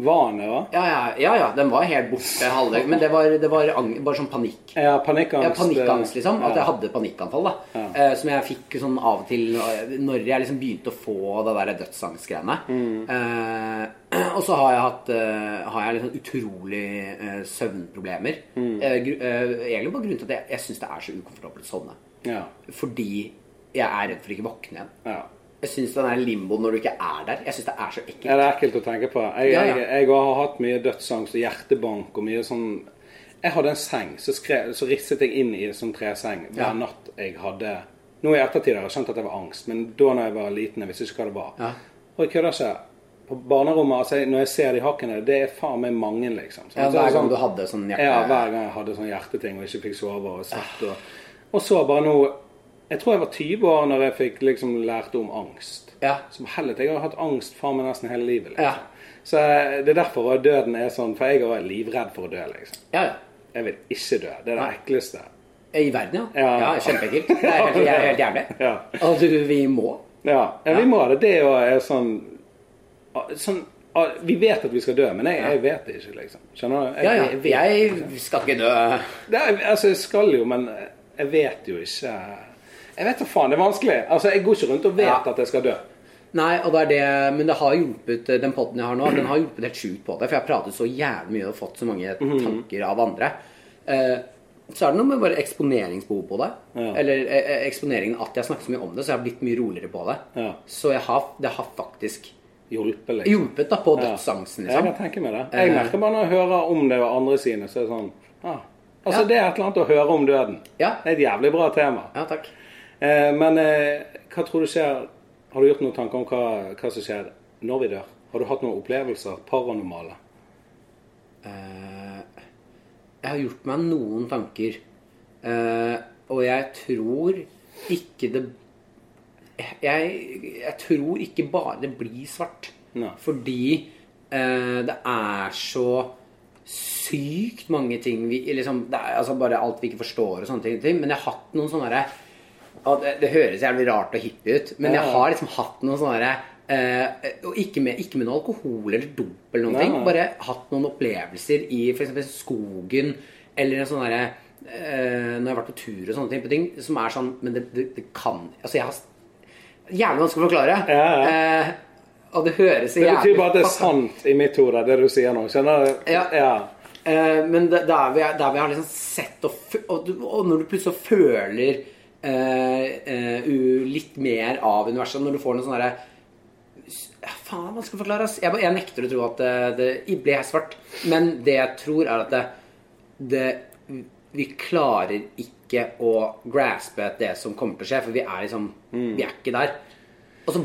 Speaker 1: Vane, va?
Speaker 2: Ja, ja, ja, ja den var helt borte halvveis. Men det var, det var ang bare sånn panikk.
Speaker 1: Ja, panikkangst.
Speaker 2: Ja, panikkangst,
Speaker 1: eh,
Speaker 2: liksom. At
Speaker 1: ja.
Speaker 2: jeg hadde panikkanfall. da eh, Som jeg fikk sånn av og til eh, når jeg liksom begynte å få det der dødsangstgreiene.
Speaker 1: Mm.
Speaker 2: Eh, og så har jeg hatt eh, Har jeg liksom utrolig eh, søvnproblemer.
Speaker 1: Mm.
Speaker 2: Eh, gru- eh, egentlig bare grunnen til at jeg, jeg syns det er så ukomfortabelt å sovne.
Speaker 1: Ja.
Speaker 2: Fordi jeg er redd for ikke å våkne igjen.
Speaker 1: ja.
Speaker 2: Jeg syns den der limboen når du ikke er der, jeg syns det er så ekkelt.
Speaker 1: Ja, det er ekkelt å tenke på. Jeg,
Speaker 2: Ja, ja.
Speaker 1: jeg, jeg har hatt mye dødsangst og hjertebank og mye sånn Jeg hadde en seng, så, skre, så risset jeg inn i en sånn treseng hver
Speaker 2: Ja.
Speaker 1: natt jeg hadde Nå i ettertid har jeg skjønt at det var angst, men da når jeg var liten, jeg visste ikke hva det var.
Speaker 2: Ja.
Speaker 1: Og jeg kødder ikke. På barnerommet, altså, når jeg ser de hakkene, det er faen meg mange, liksom. Så-
Speaker 2: Ja,
Speaker 1: så er
Speaker 2: hver
Speaker 1: det
Speaker 2: gang
Speaker 1: sånn-
Speaker 2: du hadde sånn hjerte...
Speaker 1: ja, hver gang jeg hadde sånn hjerteting og ikke fikk sove
Speaker 2: Ah.
Speaker 1: og satt og Og så bare nå Jeg tror jeg var 20 år når jeg fikk liksom lært om angst.
Speaker 2: Ja.
Speaker 1: Som helvete, jeg har hatt angst faen meg nesten hele livet. Liksom.
Speaker 2: Ja.
Speaker 1: Så eh, det er derfor at døden er sånn, for jeg er livredd for å dø, liksom.
Speaker 2: Ja, ja.
Speaker 1: Jeg vil ikke dø. Det er det ekleste.
Speaker 2: I verden, ja.
Speaker 1: Ja.
Speaker 2: Ja, Kjempeekkelt. Det er helt, jeg er helt jævlig.
Speaker 1: Ja.
Speaker 2: Og du, vi må.
Speaker 1: Ja, ja vi må ha det. Det er jo er sånn ah, Sånn ah, Vi vet at vi skal dø, men jeg, jeg vet det ikke, liksom. Skjønner du? Jeg-
Speaker 2: Ja, ja.
Speaker 1: jeg vet-
Speaker 2: Jeg skal ikke dø.
Speaker 1: Det er, altså, jeg skal jo, men jeg vet jo ikke Jeg vet da faen, det er vanskelig. Altså, Jeg går ikke rundt og vet
Speaker 2: Ja.
Speaker 1: at jeg skal dø.
Speaker 2: Nei, og det er det, men det har hjulpet eh, den podden jeg har nå, den har hjulpet helt sjukt på det. For jeg har pratet så jævlig mye og fått så mange
Speaker 1: Mhm.
Speaker 2: tanker av andre. Eh, så er det noe med bare eksponeringsbehov på det.
Speaker 1: Ja.
Speaker 2: Eller eh, eh, eksponeringen at jeg snakker så mye om det, så jeg har blitt mye roligere på det.
Speaker 1: Ja.
Speaker 2: Så jeg har, det har faktisk
Speaker 1: Hjulpe, liksom.
Speaker 2: hjulpet da på
Speaker 1: Ja.
Speaker 2: dødsangsten,
Speaker 1: Jeg
Speaker 2: liksom.
Speaker 1: kan tenke meg det. Jeg merker bare når jeg hører om det og andre sine, så er det sånn ah. Altså,
Speaker 2: Ja.
Speaker 1: det er et eller annet å høre om døden.
Speaker 2: Ja.
Speaker 1: Det er et jævlig bra tema.
Speaker 2: Ja, takk.
Speaker 1: Eh, men eh, hva tror du skjer Har du gjort noen tanker om hva, hva som skjer når vi dør? Har du hatt noen opplevelser? Paranormale?
Speaker 2: Eh, jeg har gjort meg noen tanker. Eh, og jeg tror ikke det jeg, jeg tror ikke bare det blir svart.
Speaker 1: Nei.
Speaker 2: Fordi eh, det er så sykt mange ting vi liksom, det er, altså Bare alt vi ikke forstår og sånne ting. ting. Men jeg har hatt noen sånne derre ja, det, det høres jævlig rart og hippie ut, men
Speaker 1: Ja, ja.
Speaker 2: jeg har liksom hatt noen sånne derre, eh, og ikke med, ikke med noe alkohol eller dop eller noen
Speaker 1: Nei,
Speaker 2: ting.
Speaker 1: nei.
Speaker 2: Bare hatt noen opplevelser i f.eks. skogen eller en sånn derre eh, Når jeg har vært på tur og sånne ting, på ting som er sånn Men det, det, det kan Altså, jeg har Jævlig vanskelig å forklare.
Speaker 1: Ja, ja.
Speaker 2: Eh, og det høres så
Speaker 1: Det betyr
Speaker 2: jævlig
Speaker 1: bare at det er
Speaker 2: fucka-
Speaker 1: sant i mitt hode, det du sier nå. Skjønner du?
Speaker 2: Ja. Eh, men det- der vi, er- der vi har liksom sett og, fø- og, du- og når du plutselig føler eh, eh, u- litt mer av universet Når du får noe sånn derre ja, Faen, vanskelig å forklare. ass. Jeg, bare- jeg nekter å tro at det, det i- ble svart. Men det jeg tror, er at det, det Vi klarer ikke å graspe det som kommer til å skje, for vi er liksom Vi er ikke der. Altså,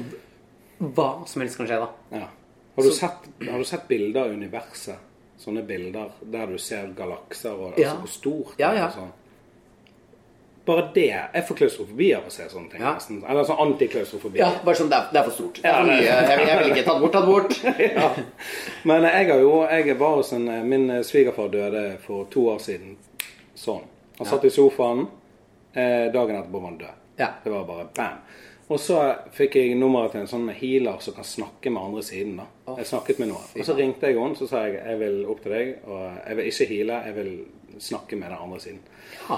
Speaker 2: hva som helst kan skje, da.
Speaker 1: Ja. Har, du sett, har du sett bilder av universet? Sånne bilder der du ser galakser og
Speaker 2: Ja.
Speaker 1: altså, hvor stort
Speaker 2: Ja,
Speaker 1: det er
Speaker 2: ja.
Speaker 1: og sånn. Bare det Jeg får klaustrofobi av å se sånne ting.
Speaker 2: Ja.
Speaker 1: nesten. Eller sånn antiklaustrofobi.
Speaker 2: Ja, bare sånn, det er, det er for stort. Det er for
Speaker 1: Ja,
Speaker 2: mye.
Speaker 1: det-
Speaker 2: Jeg, vil- jeg vil ikke ta det bort, ta det bort.
Speaker 1: Ja. Men jeg har jo jeg var hos en, eh, Min svigerfar døde for to år siden sånn. Han satt i sofaen. Eh, dagen etterpå var han død.
Speaker 2: Ja.
Speaker 1: Det var bare bam. Og så fikk jeg nummeret til en sånn healer som kan snakke med andre siden. da. jeg snakket med noen. Og så ringte jeg henne så sa jeg, jeg vil opp til deg. og Jeg vil ikke heale, jeg vil snakke med den andre siden.
Speaker 2: Ja.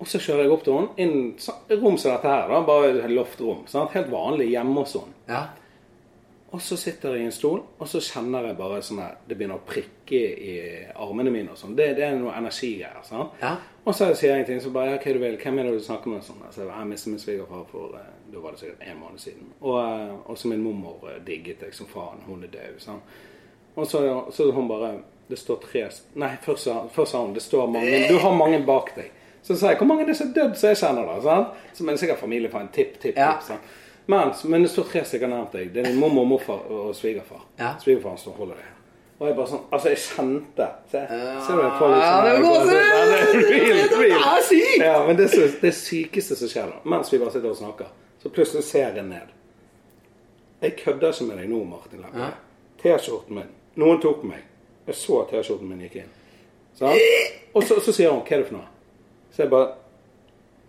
Speaker 1: Og så kjører jeg opp til henne. Inn sa- rom som dette her. da, Bare loftrom. sant? Helt vanlig hjemme sånn. hos henne.
Speaker 2: Ja.
Speaker 1: Og så sitter jeg i en stol, og så kjenner jeg bare sånn her Det begynner å prikke i armene mine og sånn. Det, det er noe energigreier. sant?
Speaker 2: Ja.
Speaker 1: Og så sier jeg ingenting, så bare ja, hva du vil, hvem er det du snakker med? og Sånn. Så jeg, bare, jeg mistet min svigerfar for eh, da var det sikkert en måned siden. Og eh, også min mormor eh, digget jeg som faen. Hun er død. sant? Og så, så hun bare Det står tre st- Nei, først sa, først sa hun det står mange Du har mange bak deg. Så sa jeg hvor mange av disse er dødd som jeg kjenner, da? sant? Som er sikkert familie fra en tipp, tipp,
Speaker 2: Ja.
Speaker 1: tipp. sant? Men, men det står tre stykker nærmt deg. Det er din mormor, morfar og svigerfar.
Speaker 2: Ja.
Speaker 1: Svigerfaren som holder deg. Og jeg bare sånn Altså, jeg kjente Se, ser du jeg får litt
Speaker 2: Ja,
Speaker 1: sånn
Speaker 2: det
Speaker 1: Ja, det
Speaker 2: er
Speaker 1: er real,
Speaker 2: Det
Speaker 1: real.
Speaker 2: er sykt!
Speaker 1: Ja, men det, er så, det sykeste som skjer da, mens vi bare sitter og snakker, så plutselig ser jeg ned. Jeg kødder ikke med deg nå, Martin Lempe. T-skjorten min. Noen tok meg. Jeg så at T-skjorten min gikk inn. Sant? Og så, så sier hun 'Hva er det for noe?' Så jeg bare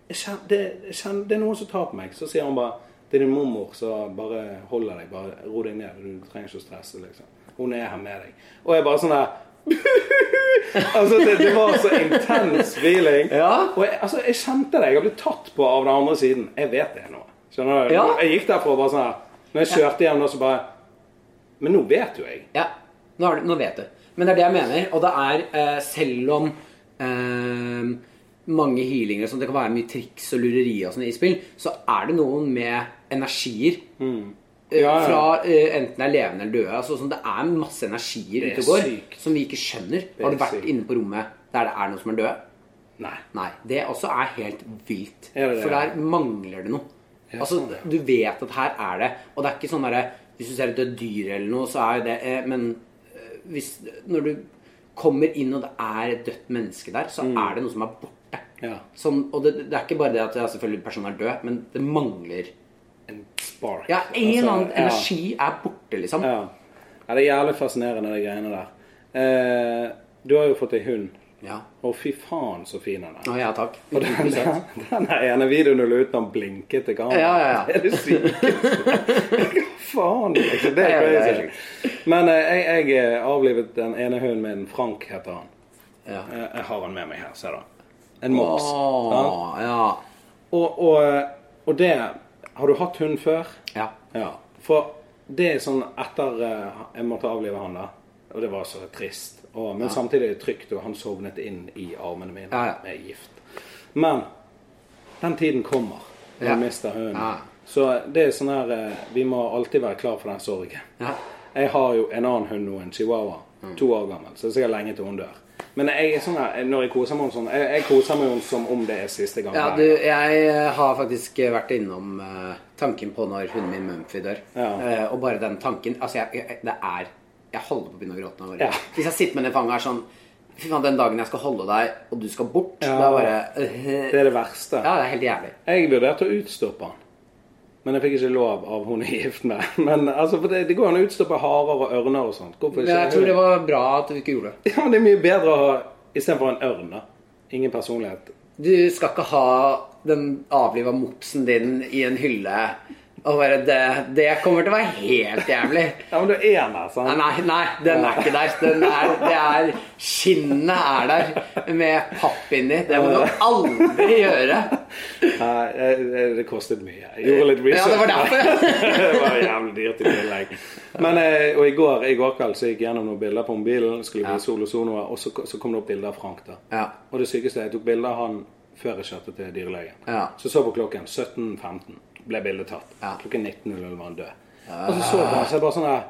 Speaker 1: jeg kjen- det, jeg kjen- 'Det er noen som tar på meg.' Så sier hun bare 'Det er din mormor som bare holder deg. Bare ro deg ned. Du trenger ikke å stresse.' liksom. Hun er her med deg. Og jeg bare sånn der Altså, det, det var så intens feeling.
Speaker 2: Ja.
Speaker 1: Og jeg, altså, jeg kjente det. Jeg har blitt tatt på av den andre siden. Jeg vet det nå. Skjønner du?
Speaker 2: Ja.
Speaker 1: Jeg gikk derfra og bare sånn her Når jeg kjørte hjem, da så bare Men nå vet jo jeg.
Speaker 2: Ja, nå, har du, nå vet du. Men det er det jeg mener, og det er eh, selv om eh, mange healinger og sånt, det kan være mye triks og lureri og sånt i spill, så er det noen med energier eh,
Speaker 1: Ja, ja.
Speaker 2: fra eh, enten det er levende eller døde. Altså, sånn, det er masse energier
Speaker 1: Det er
Speaker 2: ute og går
Speaker 1: sykt.
Speaker 2: som vi ikke skjønner.
Speaker 1: er
Speaker 2: Har du vært
Speaker 1: sykt.
Speaker 2: inne på rommet der det er noen som er døde?
Speaker 1: Nei.
Speaker 2: Nei. Det også er helt vilt.
Speaker 1: Er det det?
Speaker 2: For der mangler det noe. altså,
Speaker 1: sånn, ja.
Speaker 2: Du vet at her er det Og det er ikke sånn derre Hvis du ser et dødt dyr eller noe, så er jo det eh, Men eh, hvis, når du kommer inn, og det er et dødt menneske der, så er det noe som er borte.
Speaker 1: Mm. Ja.
Speaker 2: Som, og det, det er ikke bare det at ja, selvfølgelig personen er død, men det mangler
Speaker 1: En spark.
Speaker 2: Ja, en eller annen
Speaker 1: Altså, ja.
Speaker 2: energi er borte, liksom.
Speaker 1: Ja. ja. Det er jævlig fascinerende, de greiene der. Eh, du har jo fått deg hund.
Speaker 2: Ja.
Speaker 1: Å, fy faen, så fin han er.
Speaker 2: Å ja, takk.
Speaker 1: Og den, den, den her ene videoen du la ut når han blinket til kameraet
Speaker 2: Ja, ja, ja.
Speaker 1: Det er det sykeste. Hva faen? liksom? Det er
Speaker 2: Ja, ja, det er
Speaker 1: crazy. Men eh, jeg, jeg eh, avlivet den ene hunden min. Frank heter han.
Speaker 2: Ja.
Speaker 1: Eh, Jeg har han med meg her, ser du. En mops.
Speaker 2: Å, ja.
Speaker 1: Og, og eh, Og det Har du hatt hund før?
Speaker 2: Ja.
Speaker 1: Ja. For det er sånn etter eh, jeg måtte avlive han da, og det var så trist, og, men samtidig er det trygt, og han sovnet inn i armene mine
Speaker 2: Ja, ja.
Speaker 1: med gift. Men den tiden kommer når
Speaker 2: Ja.
Speaker 1: du mister hunden.
Speaker 2: Ja.
Speaker 1: Så det er sånn her eh, Vi må alltid være klar for den sorgen.
Speaker 2: Ja. Mm.
Speaker 1: Jeg har jo en annen hund nå, en chihuahua. To år gammel. Så det er sikkert lenge til hun dør. Men jeg er sånn her, når jeg koser meg med henne sånn Jeg, jeg koser meg med henne som om det er siste gang.
Speaker 2: ja,
Speaker 1: hver
Speaker 2: du,
Speaker 1: gang.
Speaker 2: jeg eh, har faktisk vært innom eh, tanken på når hunden min Mumphy dør.
Speaker 1: Ja.
Speaker 2: Eh, og bare den tanken Altså, jeg, jeg, det er Jeg holder på å begynne å gråte nå. bare.
Speaker 1: Ja.
Speaker 2: Hvis jeg sitter med den i fanget og er sånn Fy faen, den dagen jeg skal holde deg, og du skal bort,
Speaker 1: Ja.
Speaker 2: da bare øh,
Speaker 1: Det er det verste.
Speaker 2: Ja, det er helt jævlig.
Speaker 1: Jeg vurderte å utstoppe han. Men jeg fikk ikke lov av hun jeg er gift med. Men altså, for det, det går an å utstoppe harer og ørner og sånt. Hvorfor
Speaker 2: Men
Speaker 1: ikke?
Speaker 2: jeg tror det var bra at du ikke gjorde det.
Speaker 1: Ja, det er mye bedre å ha istedenfor en ørn, da. Ingen personlighet.
Speaker 2: Du skal ikke ha den avliva mopsen din i en hylle og bare Det, det kommer til å være helt jævlig.
Speaker 1: Ja, men du er en her,
Speaker 2: Nei,
Speaker 1: sant?
Speaker 2: nei, nei, den er ikke der. Den er, det er, skinnet er der med papp inni. Det må du aldri gjøre.
Speaker 1: Nei, eh, det- det kostet mye. Jeg gjorde litt
Speaker 2: Ja,
Speaker 1: research.
Speaker 2: det var derfor.
Speaker 1: det var jævlig dyrt i tillegg. Men, eh, og i går, i går kveld så gikk jeg gjennom noen bilder på mobilen, skulle bli Sol og Sonoa, og så, så kom det opp bilder av Frank, da.
Speaker 2: Ja.
Speaker 1: Og det sykeste er at jeg tok bilder av han før jeg kjørte til dyrlegen.
Speaker 2: Ja.
Speaker 1: Så så på klokken 17.15 ble bildet tatt.
Speaker 2: Ja.
Speaker 1: Klokken 19.00 var han død. Og så så jeg på han, så jeg bare sånn her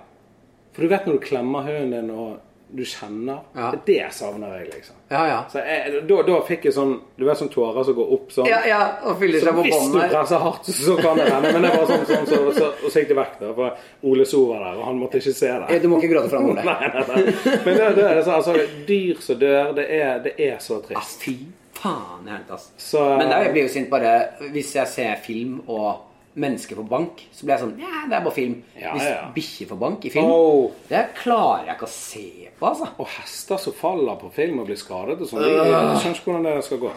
Speaker 1: For du vet når du klemmer hunden din, og du kjenner
Speaker 2: Ja.
Speaker 1: Det er det jeg savner jeg, liksom.
Speaker 2: Ja, ja.
Speaker 1: Så jeg, da, da fikk jeg sånn Du vet sånn tårer som går opp sånn?
Speaker 2: Ja, ja, og fyller
Speaker 1: Så
Speaker 2: seg på
Speaker 1: hvis du
Speaker 2: båndet.
Speaker 1: presser hardt, så- så kan det hende. Men det var sånn, sånn så, så, og så gikk det vekk, da. For Ole So var der, og han måtte ikke se det.
Speaker 2: Du må ikke gråte foran Ole.
Speaker 1: Nei, nei, nei. Men det, det er så, altså, dyr som dør, det er, det er så trist.
Speaker 2: Ass, fy faen i helvete, ass.
Speaker 1: Så-
Speaker 2: Men der blir jeg jo sint bare hvis jeg ser film og mennesker får bank, så blir jeg sånn Ja, det er bare film.
Speaker 1: Ja,
Speaker 2: Hvis
Speaker 1: ja.
Speaker 2: bikkjer får bank i film,
Speaker 1: Åh.
Speaker 2: det klarer jeg ikke å se på, altså.
Speaker 1: Og hester som faller på film og blir skadet og sånn. Jeg, jeg skjønner ikke hvordan det skal gå.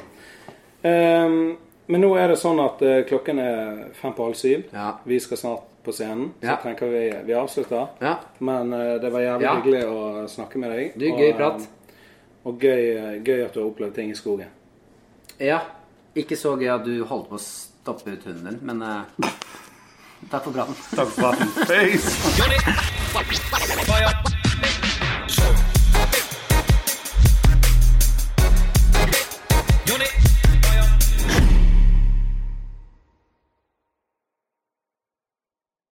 Speaker 1: Ehm, men nå er det sånn at eh, klokken er fem på halv syv.
Speaker 2: Ja.
Speaker 1: Vi skal snart på scenen. Så
Speaker 2: Ja.
Speaker 1: tenker vi vi avslutter.
Speaker 2: Ja.
Speaker 1: Men eh, det var jævlig
Speaker 2: Ja.
Speaker 1: hyggelig å snakke med deg.
Speaker 2: Du, gøy prat.
Speaker 1: eh, Og gøy, eh, gøy at du har opplevd ting i skogen.
Speaker 2: Ja. Ikke så gøy at du holdt på å stoppe ut hunden din, men eh, takk for praten.
Speaker 4: Unit.